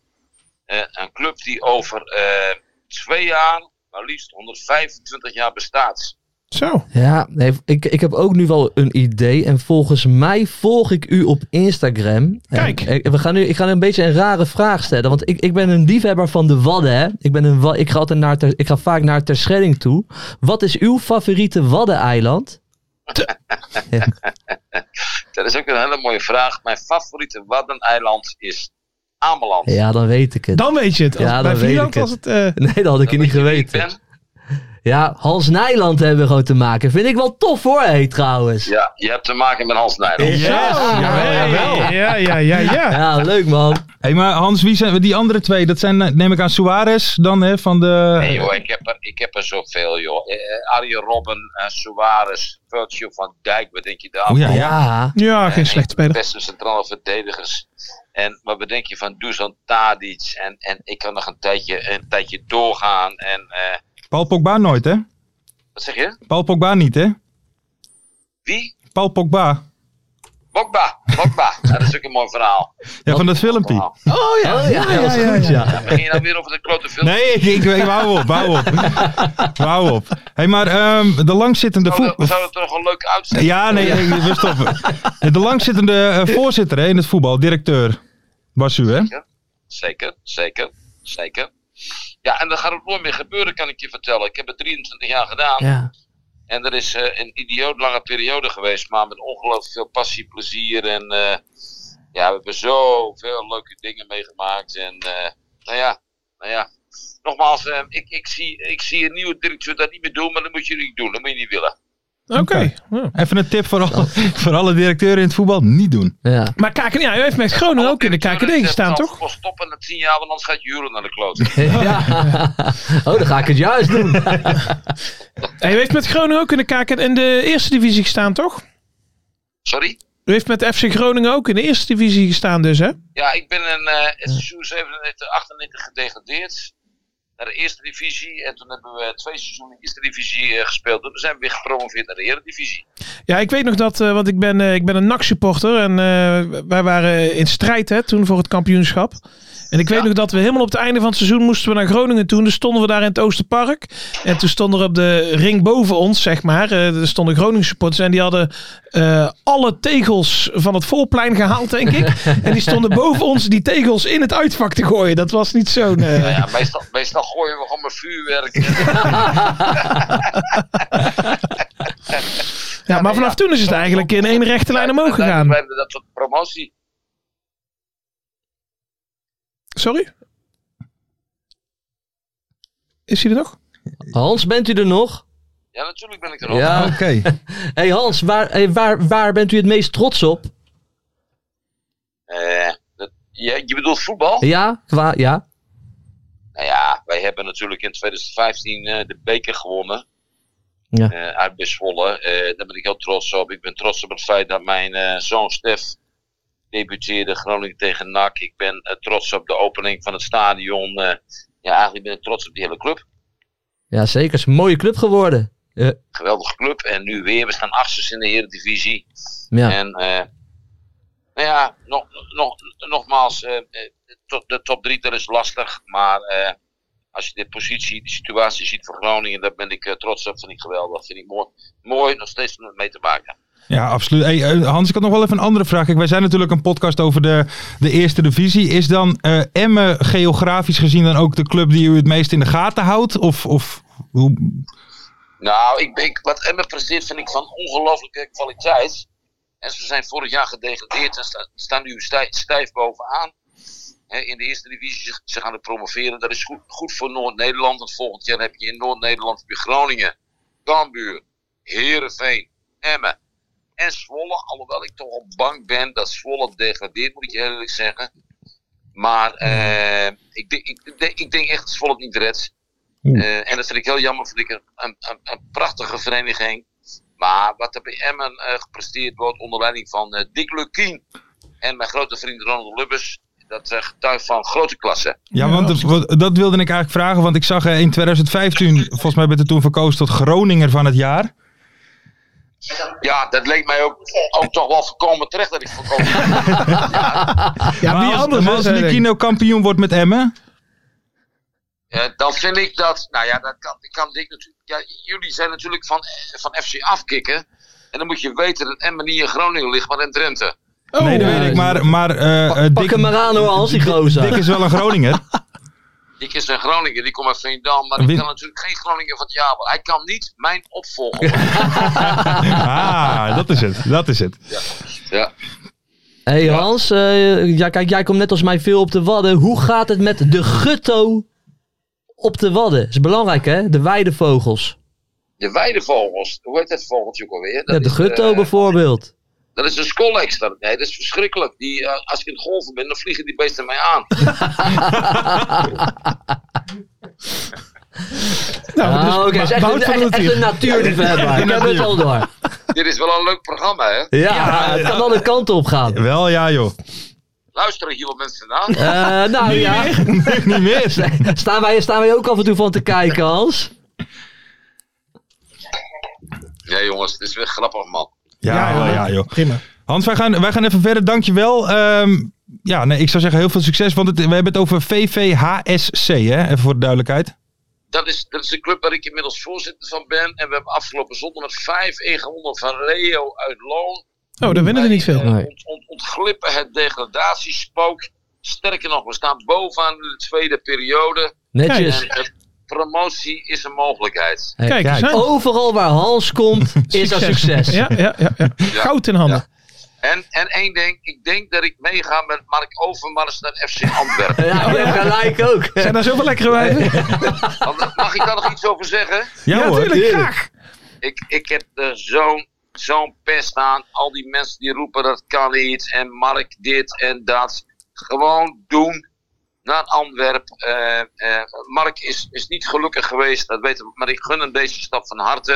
Eh, een club die over eh, twee jaar maar liefst 125 jaar bestaat. Zo. Ja, nee, ik, ik heb ook nu wel een idee. En volgens mij volg ik u op Instagram. Kijk. En, eh, we gaan nu, ik ga nu een beetje een rare vraag stellen. Want ik, ik ben een liefhebber van de Wadden. Hè? Ik, ben een, wa- ik, ga altijd naar ter, ik ga vaak naar Terschelling toe. Wat is uw favoriete Waddeneiland? Dat is ook een hele mooie vraag. Mijn favoriete waddeneiland is Ameland. Ja, dan weet ik het. Dan weet je het. Als- Ja, dan bij weet Vlieland ik het. was het... eh, Nee, dat had ik je Dan niet weet je wie ik geweten. ben. Ja, Hans Nijland hebben we gewoon te maken. Vind ik wel tof hoor, hé, trouwens. Ja, je hebt te maken met Hans Nijland. Yes. Ah, hey. Ja, ja, ja, ja. Ja, leuk man. Hé, maar Hans, wie zijn die andere twee? Dat zijn, eh, neem ik aan, Suarez dan, hè, van de... Nee joh, ik heb er, ik heb er zoveel joh. Eh, eh, Arjen Robben, eh, Suarez, Virgil van Dijk, wat denk je daar? Oh ja, ja. Ja. Ja, geen Eh, slechte een van de speler. Beste centrale verdedigers. En wat bedenk je van Dusan Tadic? En, en ik kan nog een tijdje, een tijdje doorgaan. En eh, Paul Pogba nooit, hè? wat zeg je? Paul Pogba niet, hè? Wie? Paul Pogba. Bokba, Bokba. Ja, Nou, dat is ook een mooi verhaal. Ja, van dat filmpje. Verhaal. Oh ja, ja, ja, dat is ja, goed, ja. Ja, begin je nou weer over de grote film? Nee, ik, ik, ik wou op, wou op. wou op. hey, maar ehm, de langzittende Zou dat, voet... zou dat toch een leuk uitzending Ja, nee, ik- we stoppen. De langzittende eh, voorzitter hè, in het voetbal, directeur, was u hè? Zeker, zeker, zeker. Ja, en dat gaat ook nooit meer gebeuren, kan ik je vertellen. Ik heb het 23 jaar gedaan. Ja. En dat is eh, een idioot lange periode geweest. Maar met ongelooflijk veel passie, plezier. En eh, ja, we hebben zoveel leuke dingen meegemaakt. En eh, nou ja, nou ja. Nogmaals, eh, ik, ik, zie, ik zie een nieuwe directeur dat niet meer doen. Maar dat moet je niet doen. Dat moet je niet willen. Oké. Ja. Even een tip voor alle, voor alle directeuren in het voetbal, niet doen. Ja. Maar KKD, ja, u heeft met Groningen ook in de KKD gestaan, toch? Stop stoppen na 10 jaar, want anders gaat Juren naar de kloot. Ja. Oh, dan ga ik het juist doen. En u heeft met Groningen ook in de KKD in de eerste divisie gestaan, toch? Sorry? U heeft met FC Groningen ook in de eerste divisie gestaan, dus hè? Ja, ik ben in eh het seizoen 97, 98 gedegradeerd naar de eerste divisie. En toen hebben we twee seizoenen in de eerste divisie eh, gespeeld. Toen zijn we weer gepromoveerd naar de eredivisie. Ja, ik weet nog dat, eh, want ik ben, eh, ik ben een NAC-supporter en eh, wij waren in strijd hè, toen voor het kampioenschap. En ik weet Ja. nog dat we helemaal op het einde van het seizoen moesten we naar Groningen toe. En toen stonden we daar in het Oosterpark. En toen stond er op de ring boven ons, zeg maar, eh, er stonden Groningen supporters. En die hadden eh, alle tegels van het voorplein gehaald, denk ik. en die stonden boven ons die tegels in het uitvak te gooien. Dat was niet zo'n... eh, Nou ja, meestal, meestal gooien we gewoon met vuurwerk. En- ja, maar vanaf toen is het eigenlijk in één rechte lijn omhoog En gegaan. wij hebben dat tot promotie. Sorry? Is hij er nog? Hans, bent u er nog? Ja, natuurlijk ben ik er nog. Ja. Oké. hey Hans, waar, hey, waar, waar bent u het meest trots op? Eh, dat- je, je bedoelt voetbal? Ja, qua, ja. Nou ja, wij hebben natuurlijk in 2015 eh, de beker gewonnen. Ja. Eh, uit bij Zwolle. Eh, daar ben ik heel trots op. Ik ben trots op het feit dat mijn eh, zoon Stef debuteerde Groningen tegen NAC. Ik ben eh, trots op de opening van het stadion. Eh, ja, eigenlijk ben ik trots op die hele club. Ja, zeker. Het is een mooie club geworden. Geweldige club. En nu weer, we staan achters in de Eredivisie. Ja. En eh, nou ja, nog, nog, nogmaals, eh, eh, to- de top 3 dat is lastig. Maar eh, als je de positie, de situatie ziet van Groningen, daar ben ik eh, trots op. Vind ik geweldig. Vind ik mooi. Mooi nog steeds om het mee te maken. Ja, absoluut. Hey, eh, Hans, ik had nog wel even een andere vraag. Kijk, wij zijn natuurlijk een podcast over de, de eerste divisie. Is dan eh Emmen geografisch gezien dan ook de club die u het meest in de gaten houdt? Of, of hoe? Nou, ik, ik, wat Emmen presteert vind ik van ongelooflijke kwaliteit. En ze zijn vorig jaar gedegradeerd en sta- staan nu stijf, stijf bovenaan. Hè, in de eerste divisie, ze, ze gaan er promoveren. Dat is goed, goed voor Noord-Nederland. Want volgend jaar heb je in Noord-Nederland weer Groningen, Cambuur, Heerenveen, Emmen en Zwolle. Alhoewel ik toch al bang ben dat Zwolle degradeert, moet ik je eerlijk zeggen. Maar eh, ik, denk- ik, denk- ik denk echt dat Zwolle het niet redt. Eh, en dat vind ik heel jammer, vind ik een, een, een, een prachtige vereniging. Maar wat er bij Emmen eh, gepresteerd wordt onder leiding van eh, Dick Lukien en mijn grote vriend Ronald Lubbers, dat eh, getuigt van grote klasse. Ja, want het- wat- dat wilde ik eigenlijk vragen. Want ik zag eh, in 2015, volgens mij werd er toen verkozen tot Groninger van het jaar. Ja, dat leek mij ook, ook toch wel voorkomen terecht dat ik voorkomen Ja, maar wie als, anders, maar hè, als zei ik. Likino kampioen wordt met Emmen. Eh, dan vind ik dat, nou ja, dat kan, dat kan Dick natuurlijk. Ja, jullie zijn natuurlijk van, eh, van FC afkikken. En dan moet je weten dat Emmen niet in Groningen ligt, maar in Drenthe. Oh, nee, dat weet ik. Maar, maar eh, eh, Pak hem Dick, maar aan hoor, Hans, die gozer. Dick is wel een Groninger. Die is een Groningen, die komt uit Veendam, maar die Win- kan natuurlijk geen Groningen van het jaar worden. Hij kan niet mijn opvolger worden. ah, dat is het. Dat is het. Ja. hey Hans, eh, ja, kijk, jij komt net als mij veel op de Wadden. Hoe gaat het met de gutto op de Wadden? Dat is belangrijk hè, de weidevogels. De weidevogels, hoe heet dat vogeltje ook alweer? Ja, de is, gutto eh, bijvoorbeeld. dat is een skollex. Dat, nee, dat is verschrikkelijk. Die, eh, als ik in het golven ben, dan vliegen die beesten mij aan. Nou, dus- Ah, oké, is echt, Wout een- van echt- Houten. echt een natuurliefhebber. Ik heb het al door. Dit is wel een leuk programma, hè? Ja, het kan alle kanten op gaan. Wel ja, joh. Luisteren hier wat mensen naar. Eh, nou ja, Niet meer. staan wij, staan wij ook af en toe van te kijken, Hans? Ja, jongens, dit is weer grappig, man. Ja, wel ja, joh. Prima. Hans, wij gaan, wij gaan even verder. Dankjewel. Ehm ja, nee, ik zou zeggen heel veel succes. Want het, we hebben het over VVHSC, hè? Even voor de duidelijkheid. Dat is, dat is de club waar ik inmiddels voorzitter van ben. En we hebben afgelopen zondag met 5-1 gewonnen van Reo uit Loon. Oh, daar winnen er niet veel. Wij, eh, Nee. ont- ont- ontglippen het degradatiespook. Sterker nog, we staan bovenaan in de tweede periode. Netjes. En eh, promotie is een mogelijkheid. Hey, Kijk eens, kijk. hè? Overal waar Hans komt, is dat succes. Ja, ja, ja, ja. Goud in handen. En, en één ding, ik denk dat ik meega met Mark Overmars naar FC Antwerpen. Ja, ik heb gelijk ook. Zijn daar zoveel lekkere wijven? Want, Mag ik daar nog iets over zeggen? Ja, Ja, hoor. natuurlijk, graag. Ik, ik heb er zo'n zo'n pest aan. Al die mensen die roepen dat kan niet. En Mark dit en dat. Gewoon doen. Naar Antwerpen. Eh, eh, Mark is, is niet gelukkig geweest. Dat weten we. Maar ik gun hem deze stap van harte.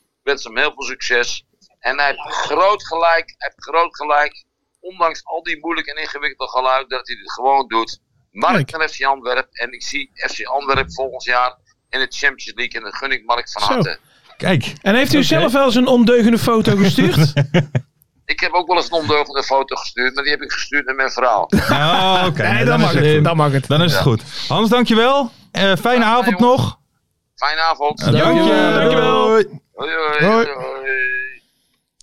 Ik wens hem heel veel succes. En hij heeft groot gelijk. Hij heeft groot gelijk. Ondanks al die moeilijk en ingewikkelde geluid. Dat hij dit gewoon doet. Mark Kijk. naar FC Antwerpen. En ik zie FC Antwerpen volgend jaar. In de Champions League. En dat gun ik Mark van Zo. harte. Kijk. En heeft u zelf wel eens een ondeugende foto gestuurd? Ik heb ook wel eens een ondeugende foto gestuurd, maar die heb ik gestuurd naar mijn vrouw. Oh, oké. Nee, Nou, dan dan, mag is het het. goed. Dan mag het. dan is het goed. Hans, dankjewel. Eh fijne Ja, avond joh. nog. Fijne avond. Dank je. dankjewel. Doei. Hoi, hoi, Hoi. hoi.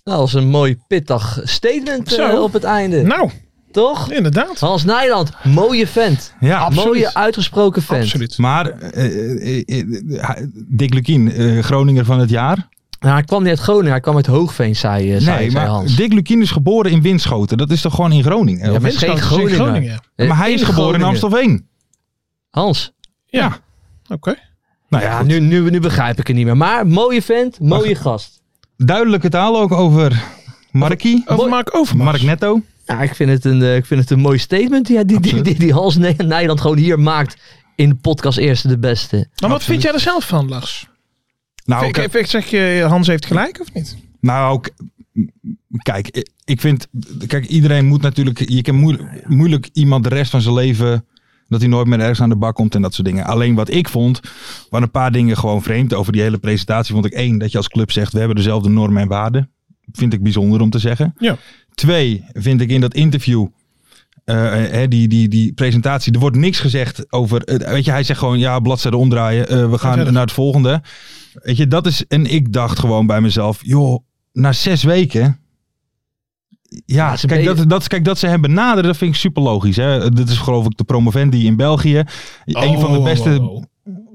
Nou, dat is een mooi pittig statement eh, Zo. op het einde. Nou, Toch? inderdaad. Hans Nijland, mooie vent. Ja, Mooie uitgesproken vent. Absoluut. Maar eh, eh, eh, eh, Dick Lukien, eh, Groninger van het jaar. Nou, hij kwam niet uit Groningen, hij kwam uit Hoogveen, zei, eh, zei, nee, zei maar Hans. Dick Lukien is geboren in Winschoten. Dat is toch gewoon in Groningen? Ja, Of maar is- geen Winschoten is in Groninger. Eh, maar hij is geboren in Groningen. Amstelveen. Hans, Ja. Oké. Nou ja, ja, goed. nu, nu, nu begrijp ik het niet meer. Maar mooie vent, mooie gast. duidelijke taal ook over Markie. Over Mark Overmars. Mark Netto. Nou, ik, vind het een, eh, ik vind het een mooi statement die, die, die, die, die Hans Nij- Nijland gewoon hier maakt in de podcast Eerste de Beste. Maar wat vind jij er zelf van, Lars? Nou, Ik, ik- ik zeg je, Hans heeft gelijk of niet? Nou, k- m- kijk, i- ik vind, kijk, iedereen moet natuurlijk, je kan moeilijk, moeilijk iemand de rest van zijn leven, dat hij nooit meer ergens aan de bak komt en dat soort dingen. Alleen wat ik vond, waren een paar dingen gewoon vreemd over die hele presentatie. Vond ik één, dat je als club zegt, we hebben dezelfde normen en waarden. Vind ik bijzonder om te zeggen. Ja. Twee, vind ik in dat interview, eh, hè, die, die, die presentatie, er wordt niks gezegd over, eh, weet je, hij zegt gewoon, ja, bladzijde omdraaien, eh, we gaan verder. naar het volgende. Weet je, dat is. En ik dacht gewoon bij mezelf, joh, na zes weken. Ja, Ja, ze kijk ben- dat, dat, kijk, dat ze hem benaderen, dat vind ik super logisch. Hè? Dit is geloof ik de promovendi in België. een van de Oh, beste. oh, oh.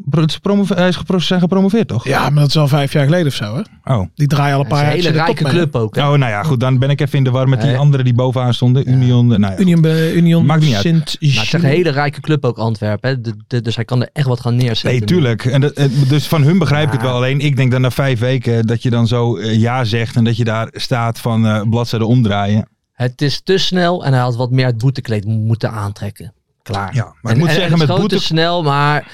Bro- het is promove- hij eh, is gepro- zijn gepromoveerd, toch? Ja, maar dat is al vijf jaar geleden of zo, hè? Oh. Die draaien al een Het is paar een jaar. hele in de rijke top mee. club ook. hè. oh, nou ja, goed. Dan ben ik even in de war met die Nee. anderen die bovenaan stonden. Union. Nou ja. Union, eh, Union Maakt niet uit. Sint Maar het is echt Nou, een hele rijke club ook, Antwerpen. Hè? De- de- dus hij kan er echt wat gaan neerzetten. Nee, tuurlijk. En dat, eh, dus van hun begrijp ik het Ja. wel. Alleen ik denk dat na vijf weken dat je dan zo eh, ja zegt. En dat je daar staat van eh bladzijden omdraaien. Het is te snel en hij had wat meer het boetekleed mo- moeten aantrekken. Klaar. Ja, maar ik moet en, en- en zeggen, het met is gewoon boete te snel, maar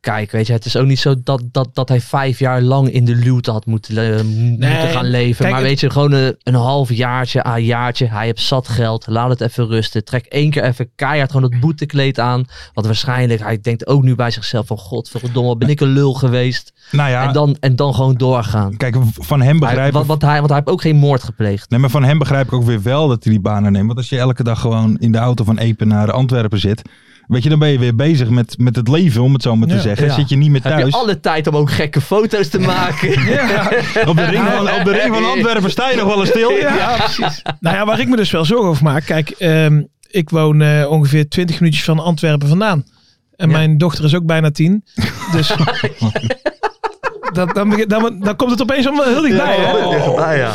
kijk, weet je, het is ook niet zo dat, dat, dat hij vijf jaar lang in de luwte had moeten, le- mo- moeten gaan leven. kijk, maar het- weet je, gewoon een, een half jaartje, een jaartje, hij heeft zat geld, laat het even rusten. Trek één keer even keihard gewoon dat boetekleed aan, want waarschijnlijk, hij denkt ook nu bij zichzelf van, godverdomme, wat ben ik een lul geweest? Nou ja, En, dan, en dan gewoon doorgaan. kijk, van hem begrijp Hij, ik want, want hij, want hij heeft ook geen moord gepleegd. Nee, maar van hem begrijp ik ook weer wel dat hij die banen neemt. Want als je elke dag gewoon in de auto van Epen naar Antwerpen zit. Weet je, dan ben je weer bezig met, met het leven, om het zo maar te Ja. zeggen. Ja. Zit je niet meer Heb je thuis. alle tijd om ook gekke foto's te maken? Op, de ring van, op de ring van Antwerpen sta je nog wel eens stil. Ja, precies. nou ja, waar ik me dus wel zorgen over maak. Kijk, ehm, ik woon eh, ongeveer 20 minuutjes van Antwerpen vandaan. En Ja. mijn dochter is ook bijna tien. Dus. Dat, dan, begin- dan, dan komt het opeens allemaal heel Oh, dichtbij. hè? Oh. ja.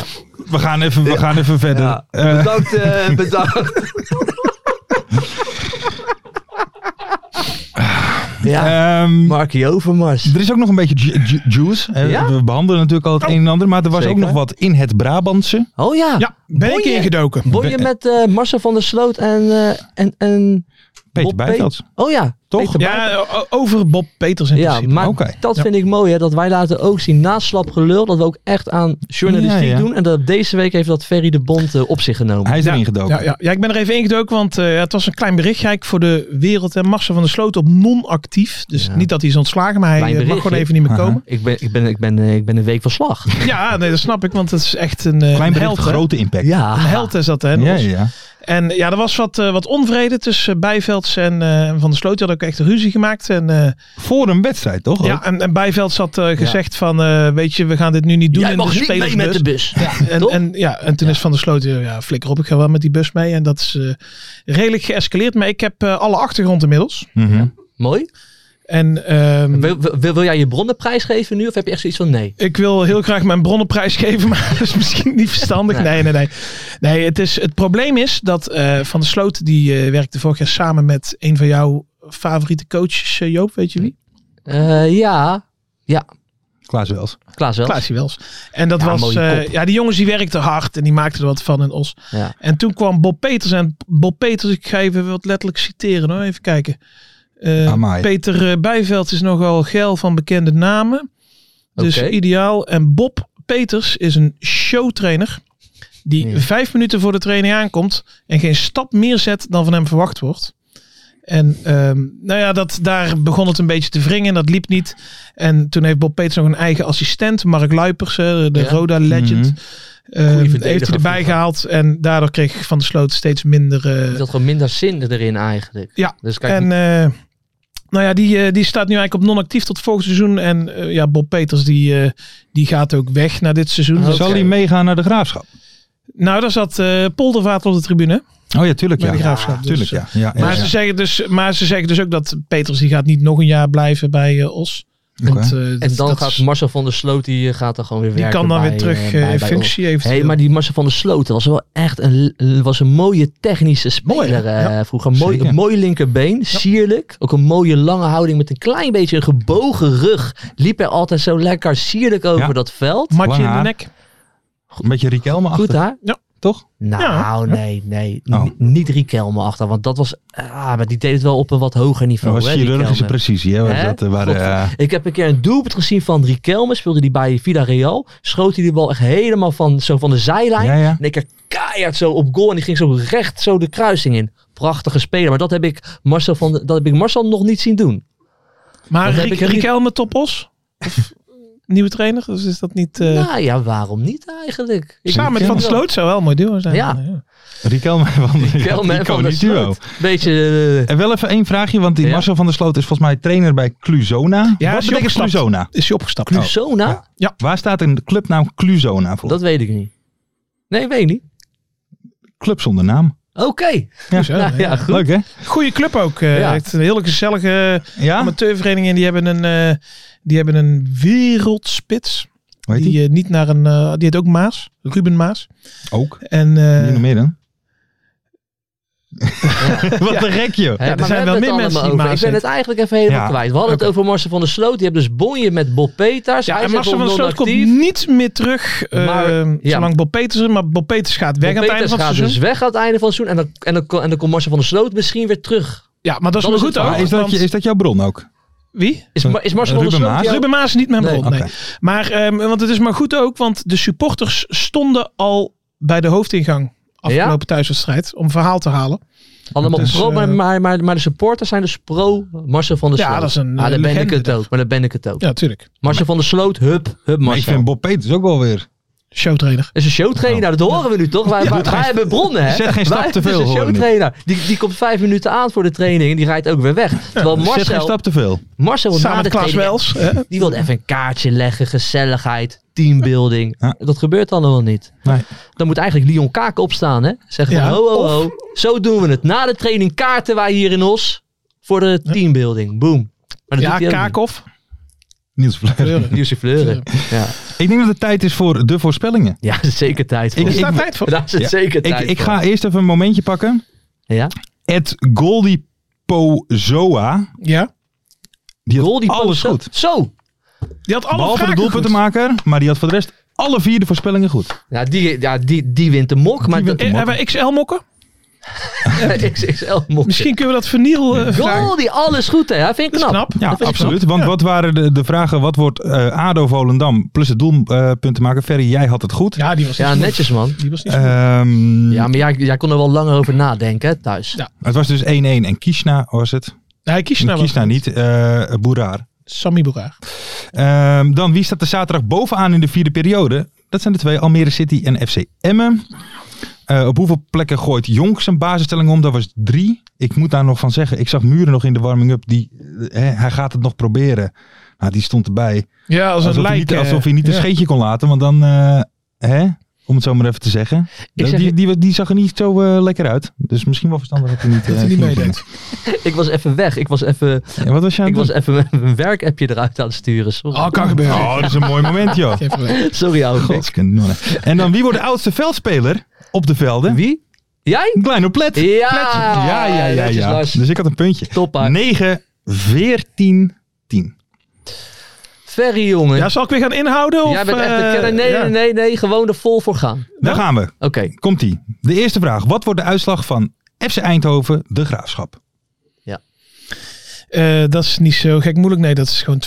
We gaan even, we gaan even verder. Ja. Eh, Bedankt, eh, bedankt. ja, ehm, Markie Overmars. er is ook nog een beetje ju- ju- juice. Eh, Ja? We behandelen natuurlijk al het een en ander. Maar er was ook Zeker. nog wat in het Brabantse. Oh ja. Ja, ben ik Boeien. ingedoken. Won je met eh Marcel van der Sloot en, eh en, en Peter Bob Bijvelds. Peet? Oh ja, Toch? Peter Buik. Ja, o- over Bob Peters in Ja, principe. maar Oké. dat Ja. vind ik mooi, hè, dat wij laten ook zien naast slap gelul dat we ook echt aan journalistiek Ja, ja. doen. En dat deze week heeft dat Ferry de Bond eh, op zich genomen. Hij is erin gedoken. Ja, ja, ja, ik ben er even ingedoken, want eh, het was een klein berichtje eigenlijk voor de wereld. En Marcel van der Sloot op non-actief. Dus Ja. niet dat hij is ontslagen, maar hij Klein eh, mag berichtje. gewoon even niet meer Aha. komen. Ik, ben, ik, ben, ik, ben, eh, ik ben een week van slag. Ja, nee, dat snap ik, want het is echt een, Klein eh, een bericht, held. hè? grote impact. Ja, Een held is dat, hè? ja, Nos? ja. ja. En ja, er was wat, eh, wat onvrede tussen Bijvelds en eh, Van der Sloot. Die hadden ook echt een ruzie gemaakt. En, eh, Voor een wedstrijd, toch? ja, en, en Bijvelds had eh, gezegd van, eh, weet je, we gaan dit nu niet doen in de spelersbus. bus. En, Toch? en, ja, en toen is Van der Sloot, weer, ja, flikker op, ik ga wel met die bus mee. En dat is eh, redelijk geëscaleerd. Maar ik heb eh, alle achtergrond inmiddels. Mhm. Mooi. En ehm, Wil, wil, wil jij je bronnenprijs geven nu of heb je echt zoiets van nee? ik wil heel graag mijn bronnenprijs geven, maar dat is misschien niet verstandig. Nee. Nee, nee, nee. nee het, is, het probleem is dat eh, Van der Sloot, die eh, werkte vorig jaar samen met een van jouw favoriete coaches, eh, Joop, weet je wie? Eh, ja, Klaas Wels. Klaas wel. Klaasje Wels. En dat Ja, was, mooie eh, kop. ja, die jongens die werkten hard en die maakten er wat van in Os. Ja. En toen kwam Bob Peters en Bob Peters, ik ga even wat letterlijk citeren hoor, even kijken. Eh, Amai. Peter eh, Bijveld is nogal geil van bekende namen, dus Oké. ideaal. En Bob Peters is een showtrainer die Ja. vijf minuten voor de training aankomt en geen stap meer zet dan van hem verwacht wordt. En ehm, nou ja, dat, daar begon het een beetje te wringen. Dat liep niet. En toen heeft Bob Peters nog een eigen assistent, Mark Luipers, hè, de Ja. Roda legend. Mhm. Ehm, heeft hij verdediger erbij vroeger. gehaald. En daardoor kreeg Van der Sloot steeds minder. eh, Dat gewoon minder zin erin eigenlijk. Ja, Dus kijk, en eh, nou ja, die, eh, die staat nu eigenlijk op non-actief tot volgend seizoen. En eh, ja, Bob Peters die, eh, die gaat ook weg na dit seizoen. Oh. Dus- Zal Oké. hij meegaan naar de graafschap? nou, daar zat eh Poldervaart op de tribune. Oh ja, tuurlijk Bij ja. de Graafschap, Ja, dus, tuurlijk ja. ja, ja, Maar, ja. Ze zeggen dus, maar ze zeggen dus ook dat Peters die gaat niet nog een jaar blijven bij eh, Os. Want, eh, en dat- dan dat gaat is- Marcel van der Sloot, die eh, gaat dan gewoon weer die werken kan dan bij, weer terug eh, eh, bij- in bij ons. functie eventueel. Hey, maar die Marcel van der Sloot was wel echt een, was een mooie technische Mooi, speler eh, ja. vroeger. Mooi, Zeker. mooi linkerbeen, sierlijk. Ook een mooie lange houding met een klein beetje een gebogen rug. Liep er altijd zo lekker sierlijk over Ja. dat veld. Matje Lang in de haar. nek. Een beetje Riquelme Goed achter, daar. toch? Nou, Ja. nee, nee. Oh. N- Niet Riquelme achter, want dat was... Ah, maar die deed het wel op een wat hoger Dat niveau. was hè, chirurgische Riquelme. precisie. Hè? Hè? Dat, eh, waren, eh, Ik heb een keer een doelpunt gezien van Riquelme. Speelde die bij Villarreal. Schoot hij die bal echt helemaal van, zo van de zijlijn. ja, ja. En ik keer keihard zo op goal en die ging zo recht zo de kruising in. Prachtige speler, maar dat heb ik Marcel, van, de- dat heb ik Marcel nog niet zien doen. Maar Dat heb Rick, ik er Rick niet- Elme top Os? Of nieuwe trainer? Dus is dat niet... eh, nou ja, waarom niet eigenlijk? Ik Samen met vind Van wel- Sloot zou wel een mooi duo zijn. Ja. Riquelme van de Kelme en van der duo. Sloot. Beetje, eh, En wel even één vraagje, want die Ja. Marcel van der Sloot is volgens mij trainer bij Cluzona. Ja, Wat is hij betekent opgestapt? Cluzona? Is hij opgestapt? Oh. Clusona? Ja. Waar staat een clubnaam Cluzona voor? Dat weet ik niet. Nee, weet ik niet. Club zonder naam. Oké, Ja, zo, nou ja. ja, goed. Leuk hè? Goeie club ook. eh, Ja. heeft een hele gezellige Ja? amateurvereniging. En die hebben een, eh, die hebben een wereldspits. Hoe heet Die, die? eh, niet naar een... eh, die heet ook Maas. Ruben Maas. Ook. En eh, Niet nog meer dan? Wat een gek joh. Hè, er maar zijn we wel hebben meer het allemaal mensen die over. Maas Ik ben het eigenlijk even helemaal Ja. kwijt. We hadden Oké. het over Marcel van der Sloot. Je hebt dus Bonje met Bob Peters. Ja, Hij en is Marcel even van der Sloot komt non-actief. niet meer terug. eh, Maar, ja. Zolang Bob Peters er. Maar Bob Peters gaat weg Bob aan het einde Peters van het gaat seizoen. dus weg aan het einde van het seizoen. En dan, en dan, en dan komt Marcel van der Sloot misschien weer terug. Ja, maar dat Dat is dus- is maar goed het ook. verhaal. Maar is dat, want- je, is dat jouw bron ook? Wie? Is, Ma- is Marcel van der Ruben Sloot Maas? jou- Ruben Maas is niet mijn Nee. bron. Nee. Oké. Maar, ehm, want het is maar goed ook, want de supporters stonden al bij de hoofdingang afgelopen Ja? thuiswedstrijd om verhaal te halen. Allemaal Dus, pro, maar, eh, maar, maar, maar de supporters zijn dus pro Marcel van der Ja, Sloot. dat is een, Ah, eh, daar ben ik legende het dat. ook. Maar daar ben ik het ook. Ja, natuurlijk. Marcel van der Sloot, hup, hup Maar ik Marcel. vind Bob Peters ook wel weer. Showtrainer. is een showtrainer, nou, dat horen we nu toch? Wij, wij, wij hebben bronnen, hè? Zet geen stap Wij- te het is veel, een hoor ik nu. showtrainer. Die, die komt vijf minuten aan voor de training en die rijdt ook weer weg. Terwijl dus Zet geen Marcel, stap te veel. Marcel wil na Samen de met Klaas training- Wels. hè? die wil even een kaartje leggen, gezelligheid, teambuilding. Ja. Dat gebeurt allemaal niet. Nee. Dan moet eigenlijk Leon Kaak opstaan, hè? Zeggen Ja, van, ho, ho, ho. Zo doen we het. Na de training kaarten wij hier in Os voor de teambuilding. Boom. Maar dat Ja, doet hij ook Kaakhoff. Niels Fleur. niet. Jussi Fleuren. Ja. Ik denk dat het tijd is voor de voorspellingen. ja, dat is zeker tijd voor. Ik- Er ik- staat tijd voor. Daar is het Ja, zeker Ik, tijd ik voor. ga eerst even een momentje pakken. Ja? Ed Goldie Pozoa. Ja. Die had Goal die alles post- goed. Zo. Die had alle Behalve de vragen goed. doelpuntenmaker, maar die had voor de rest alle vier de voorspellingen goed. Ja, die, ja, die, die wint de mok. Maar Eh, dat- Hebben we XL mokken? XXL mopje. Misschien kunnen we dat van Niel eh, vragen. Goal die alles goed hè. Hij vindt Dat het is knap. knap. Ja, Dat vind ik absoluut. Want Ja. wat waren de, de vragen? Wat wordt eh, ADO Volendam plus het doelpunt te maken? Ferry, jij had het goed. Ja, Eh, die was niet Ja, goed. netjes man. Die was niet goed. Ehm, Ja, maar jij, jij kon er wel langer over nadenken hè, thuis. Ja. Het was dus 1-1 en Kishna was het. Hij kiest En nou Kishna niet, eh Boeraar. Sammy Boeraar. Ehm, dan wie staat er zaterdag bovenaan in de vierde periode? Dat zijn de twee, Almere City en FC Emmen. Eh, op hoeveel plekken gooit Jonk zijn basisstelling om? Dat was drie. Ik moet daar nog van zeggen, ik zag Muren nog in de warming-up. Die, eh, hè, hij gaat het nog proberen. Nou, die stond erbij. Ja, als alsof, een hij lijk. niet, eh, alsof hij niet een ja. scheetje kon laten. Want dan, eh, hè? om het zo maar even te zeggen. Ik zeg- die, die, die zag er niet zo eh, lekker uit. Dus misschien wel verstandig dat hij niet, hij eh, niet ging meedeed. Ik was even weg. Ik was even, beginnen. En wat was je aan ik het was doen? even mijn werkappje eruit aan het sturen. Sorry, Oh, kan gebeuren. Oh, dat is een mooi moment, joh. Geen probleem. Sorry ouwe. Godskenonne. En dan wie wordt de oudste veldspeler op de velden? Wie? Jij? Kleine Plet. Ja! Plet. ja, ja, ja. Netjes, ja. Lars. Dus ik had een puntje. Toppa. 9, 14, 10. Ferry jongen. Ja, zal ik weer gaan inhouden? Of, jij bent echt eh, een kenner. Nee, ja. nee, nee, nee. Gewoon er vol voor gaan. Daar gaan we. Oké. Komt-ie. De eerste vraag. Wat wordt de uitslag van FC Eindhoven, de Graafschap? Eh, dat is niet zo gek moeilijk. Nee, dat is gewoon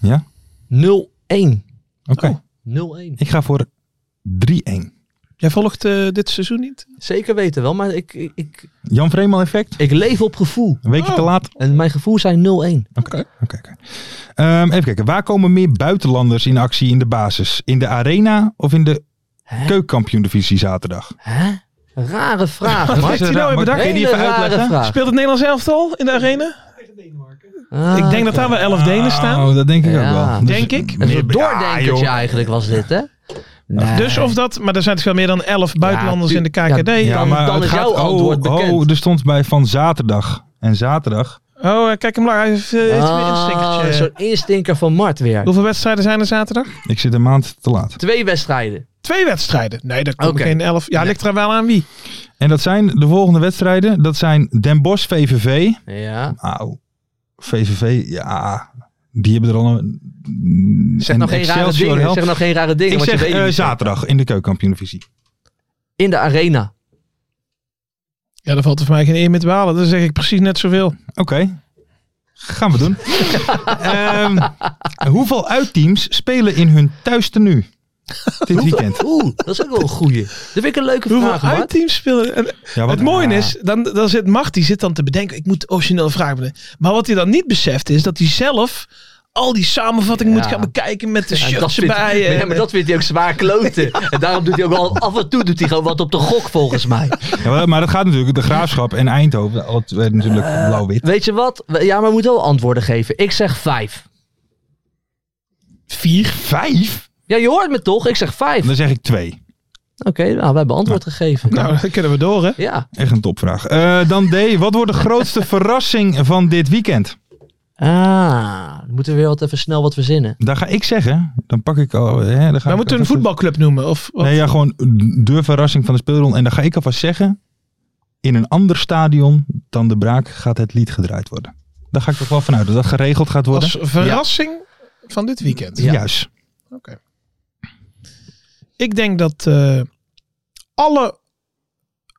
2-0. Ja? 0-1. Oké. Oh. 0-1. Ik ga voor 3-1. Jij volgt eh, dit seizoen niet? Zeker weten wel, maar ik, ik, ik, Jan Vreeman effect. ik leef op gevoel. Een weekje Oh. te laat. Oké. En mijn gevoel zijn 0-1. oké, oké. Ehm, even kijken. Waar komen meer buitenlanders in actie in de basis? In de arena of in de Hè? keukenkampioen-divisie zaterdag? Hè? Rare vraag, Wat man. is heeft er hij nou raar? weer Maar kun je die Hele even rare uitleggen? vraag. Speelt het Nederlands elftal in de arena? Ah. ik denk dat daar wel 11 Denen staan. Oh, dat denk ik ook Ja. wel. Denk ik. Een soort meer- doordenkertje Ja, joh. eigenlijk was dit, hè? Nee. Dus of dat, maar er zijn toch wel meer dan 11 buitenlanders tu- in de KKD. ja, Ja, Dan- maar dan het is gaat, jouw antwoord oh, bekend. oh, er stond bij van zaterdag. En zaterdag. Oh, eh, kijk hem lang. Hij heeft, eh, heeft weer een Ah, stinkertje. een soort instinker van Mart weer. Hoeveel wedstrijden zijn er zaterdag? Ik zit een maand te laat. Twee wedstrijden. Twee wedstrijden. Nee, daar komen Oké. geen 11. Ja, ligt er wel aan wie. En dat zijn de volgende wedstrijden. Dat zijn Den Bosch VVV. Ja. Au. VVV, ja. Die hebben er al een... Zeg nou, geen rare dingen. Zeg nou geen rare dingen. ik want zeg je weet eh, het niet. zaterdag in de keukenkampioenvisie. In de arena. Ja, daar valt er voor mij geen eer mee te behalen. Dan zeg ik precies net zoveel. Oké. Gaan we doen. Ehm, hoeveel uitteams spelen in hun thuis tenue dit weekend? Oeh, dat is ook wel een goeie. Dat vind ik een leuke Hoeveel vraag, Mart. uitteams spelen? En Ja, het mooie is, dan, dan zit Mart, die zit dan te bedenken, ik moet de originele vraag bedenken. Maar wat hij dan niet beseft is dat hij zelf al die samenvatting Ja. moet gaan bekijken met de Ja, shirts vindt, erbij. eh, en- ja, maar dat vindt hij ook zwaar kloten. En daarom doet hij ook wel, af en toe doet hij gewoon wat op de gok volgens mij. Ja, maar- maar dat gaat natuurlijk, de Graafschap en Eindhoven, alle twee natuurlijk Eh, blauw-wit. Weet je wat? We- Ja, maar we moeten wel antwoorden geven. Ik zeg vijf. Vier? Vijf? Ja, je hoort me toch? Ik zeg vijf. Dan zeg ik twee. Oké, nou, we hebben antwoord gegeven. Nou, dan kunnen we door, hè? Ja. Echt een topvraag. Eh, dan D, wat wordt de grootste verrassing van dit weekend? Ah, dan moeten we weer wat even snel wat verzinnen. Daar ga ik zeggen, dan pak ik al... Hè, dan ga We ik moeten een alvast- voetbalclub noemen. Of, of- Nee, ja, gewoon de verrassing van de speelronde. En dan ga ik alvast zeggen, in een ander stadion dan de Braak gaat het lied gedraaid worden. Daar ga ik toch wel vanuit dat dat geregeld gaat worden. als verrassing van dit weekend. Ja. Juist. Ik denk dat eh, alle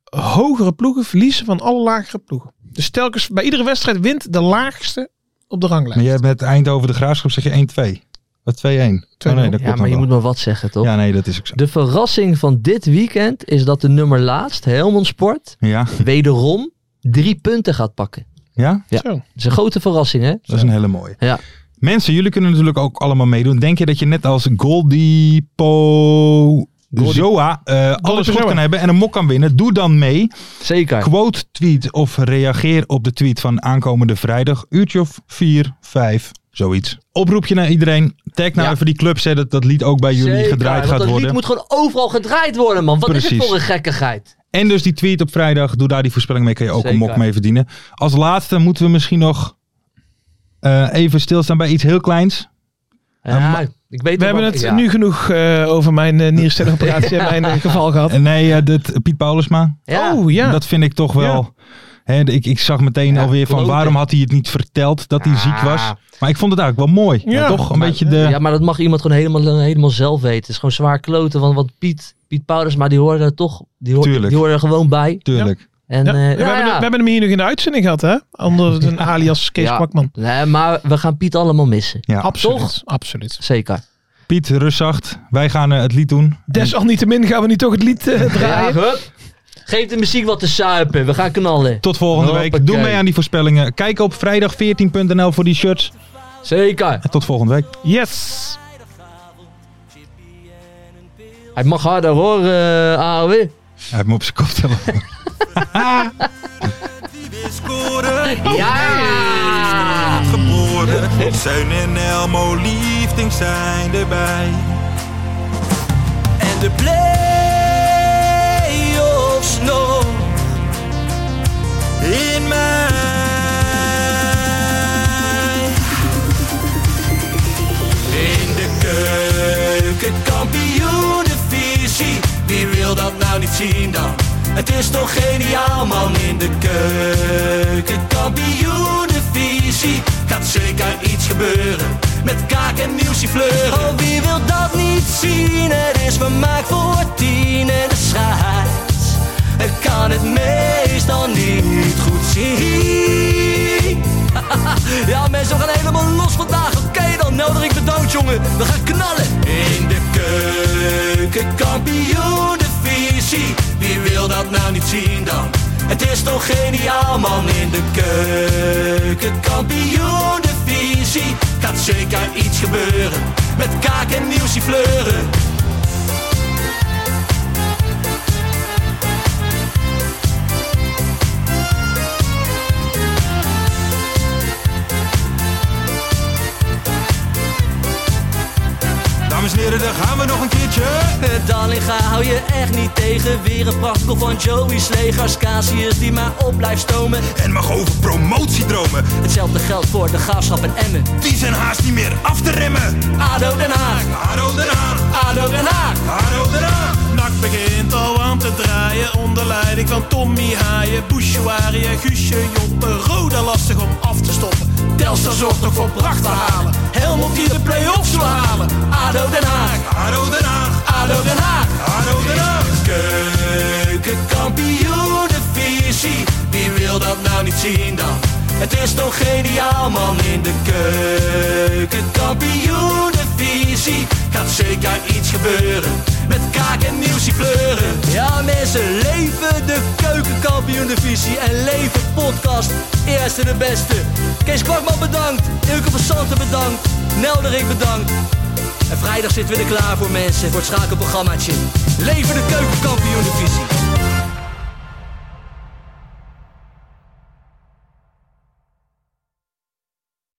hogere ploegen verliezen van alle lagere ploegen. Dus telkens bij iedere wedstrijd wint de laagste op de ranglijst. Maar jij hebt met Eindhoven de Graafschap zeg je 1-2. Wat 2-1. Oh nee, dat klopt Ja, dan maar je wel. moet maar wat zeggen, toch? Ja, nee, dat is ook zo. De verrassing van dit weekend is dat de nummer laatst, Helmond Sport, Ja, wederom drie punten gaat pakken. ja? Ja. Zo. Dat is een grote verrassing, hè? Dat is een hele mooie. Ja. Mensen, jullie kunnen natuurlijk ook allemaal meedoen. Denk je dat je net als Goldie Po... Zoa eh, alles goed Zoa. kan hebben en een mok kan winnen. Doe dan mee. Zeker. Quote tweet of reageer op de tweet van aankomende vrijdag. Uurtje of 4, 5, zoiets. Oproepje naar iedereen. Tag nou Ja. even die club. Zet dat dat lied ook bij jullie Zeker, gedraaid want gaat dat worden. lied moet gewoon overal gedraaid worden, man. Wat is Precies. het voor een gekkigheid? En dus die tweet op vrijdag. Doe daar die voorspelling mee. Kun je ook een Zeker. mok mee verdienen. Als laatste moeten we misschien nog eh, even stilstaan bij iets heel kleins. Ja, Ja, maar- ik weet We wel hebben wat- het ja. nu genoeg eh, over mijn eh, nierstellingoperatie en mijn eh, geval gehad. Eh, Nee, eh, dit, Piet Paulusma. Ja. Oh ja. Dat vind ik toch wel. Hè, de- ik, ik zag meteen Ja, alweer van kloten. waarom had hij het niet verteld dat hij Ja. ziek was. Maar ik vond het eigenlijk wel mooi. Ja. toch een Maar- beetje de. Ja, maar dat mag iemand gewoon eh, helemaal, helemaal zelf weten. Het is gewoon zwaar kloten, want wat Piet, Piet Paulus, maar die hoorde er toch, die hoorde, Tuurlijk. die hoorde er gewoon bij. Tuurlijk. En, Ja, eh, we, nou hebben, ja. we hebben hem hier nog in de uitzending gehad, hè? Onder een alias Kees Ja. Kwakman. Nee, maar we gaan Piet allemaal missen. Ja. Absoluut. Absoluut. Zeker. Piet, rustzacht. Wij gaan eh, het lied doen. Desalniettemin gaan we niet toch het lied eh, Ja, draaien. hup. Geef de muziek wat te suipen. We gaan knallen. Tot volgende week. Doe Hoppakee. mee aan die voorspellingen. Kijk op vrijdag14.nl voor die shirts. Zeker. En tot volgende week. Yes. Hij mag harder hoor, eh AOW. Hij heeft me op zijn kop telefoon. Ja! geboren. Zijn en Elmo liefding zijn erbij. En de play-offs nog in mij. In de keuken, kampioenenvisie. Wie wil dat nou niet zien dan? Het is toch geniaal man in de keuken, kampioenenvisie. Gaat zeker iets gebeuren met kaak en nieuwsie fleuren. Oh wie wil dat niet zien? Het is vermaakt voor tien en de scheids. Ik kan het meestal niet goed zien. Ja, mensen, we gaan helemaal los vandaag. Oké, dan nodig ik de dood, jongen. We gaan knallen. In de keuken, kampioen, de visie. Wie wil dat nou niet zien dan? Het is toch geniaal, man. In de keuken, kampioen, de visie. Gaat zeker iets gebeuren. Met kaak en nieuwsie fleuren. Dames en heren, daar gaan we nog een keertje. Dallinga hou je echt niet tegen. Weer een prachtkel van Joey's legers. Casius die maar op blijft stomen. En mag over promotiedromen. Hetzelfde geldt voor de gaafschap en Emmen. Die zijn haast niet meer af te remmen. ADO Den Haag, Haro eraan, ADO Den Haag. haro eraan. Nak begint al aan te draaien onder leiding van Tommy Haaien, Bouchouari en Guusje Joppen. Roda lastig om af te stoppen. Telstar zorgt nog voor pracht te halen. Helmond die de play-offs wil halen. ADO Den Haag, Haro Den Haag, ADO Den Haag. Haro Den Haag. Keukenkampioenenvisie, wie wil dat nou niet zien dan? Het is toch geniaal man in de keukenkampioenenvisie. Gaat zeker iets gebeuren, met kaak en nieuwsie fleuren. Ja mensen, leven de keukenkampioen divisie en leven podcast. Eerste de beste. Kees Kwakman bedankt, Ilke van Santen bedankt, Nelderik bedankt. En vrijdag zitten we er klaar voor mensen, voor het schakelprogrammaatje. Leven de keukenkampioen divisie.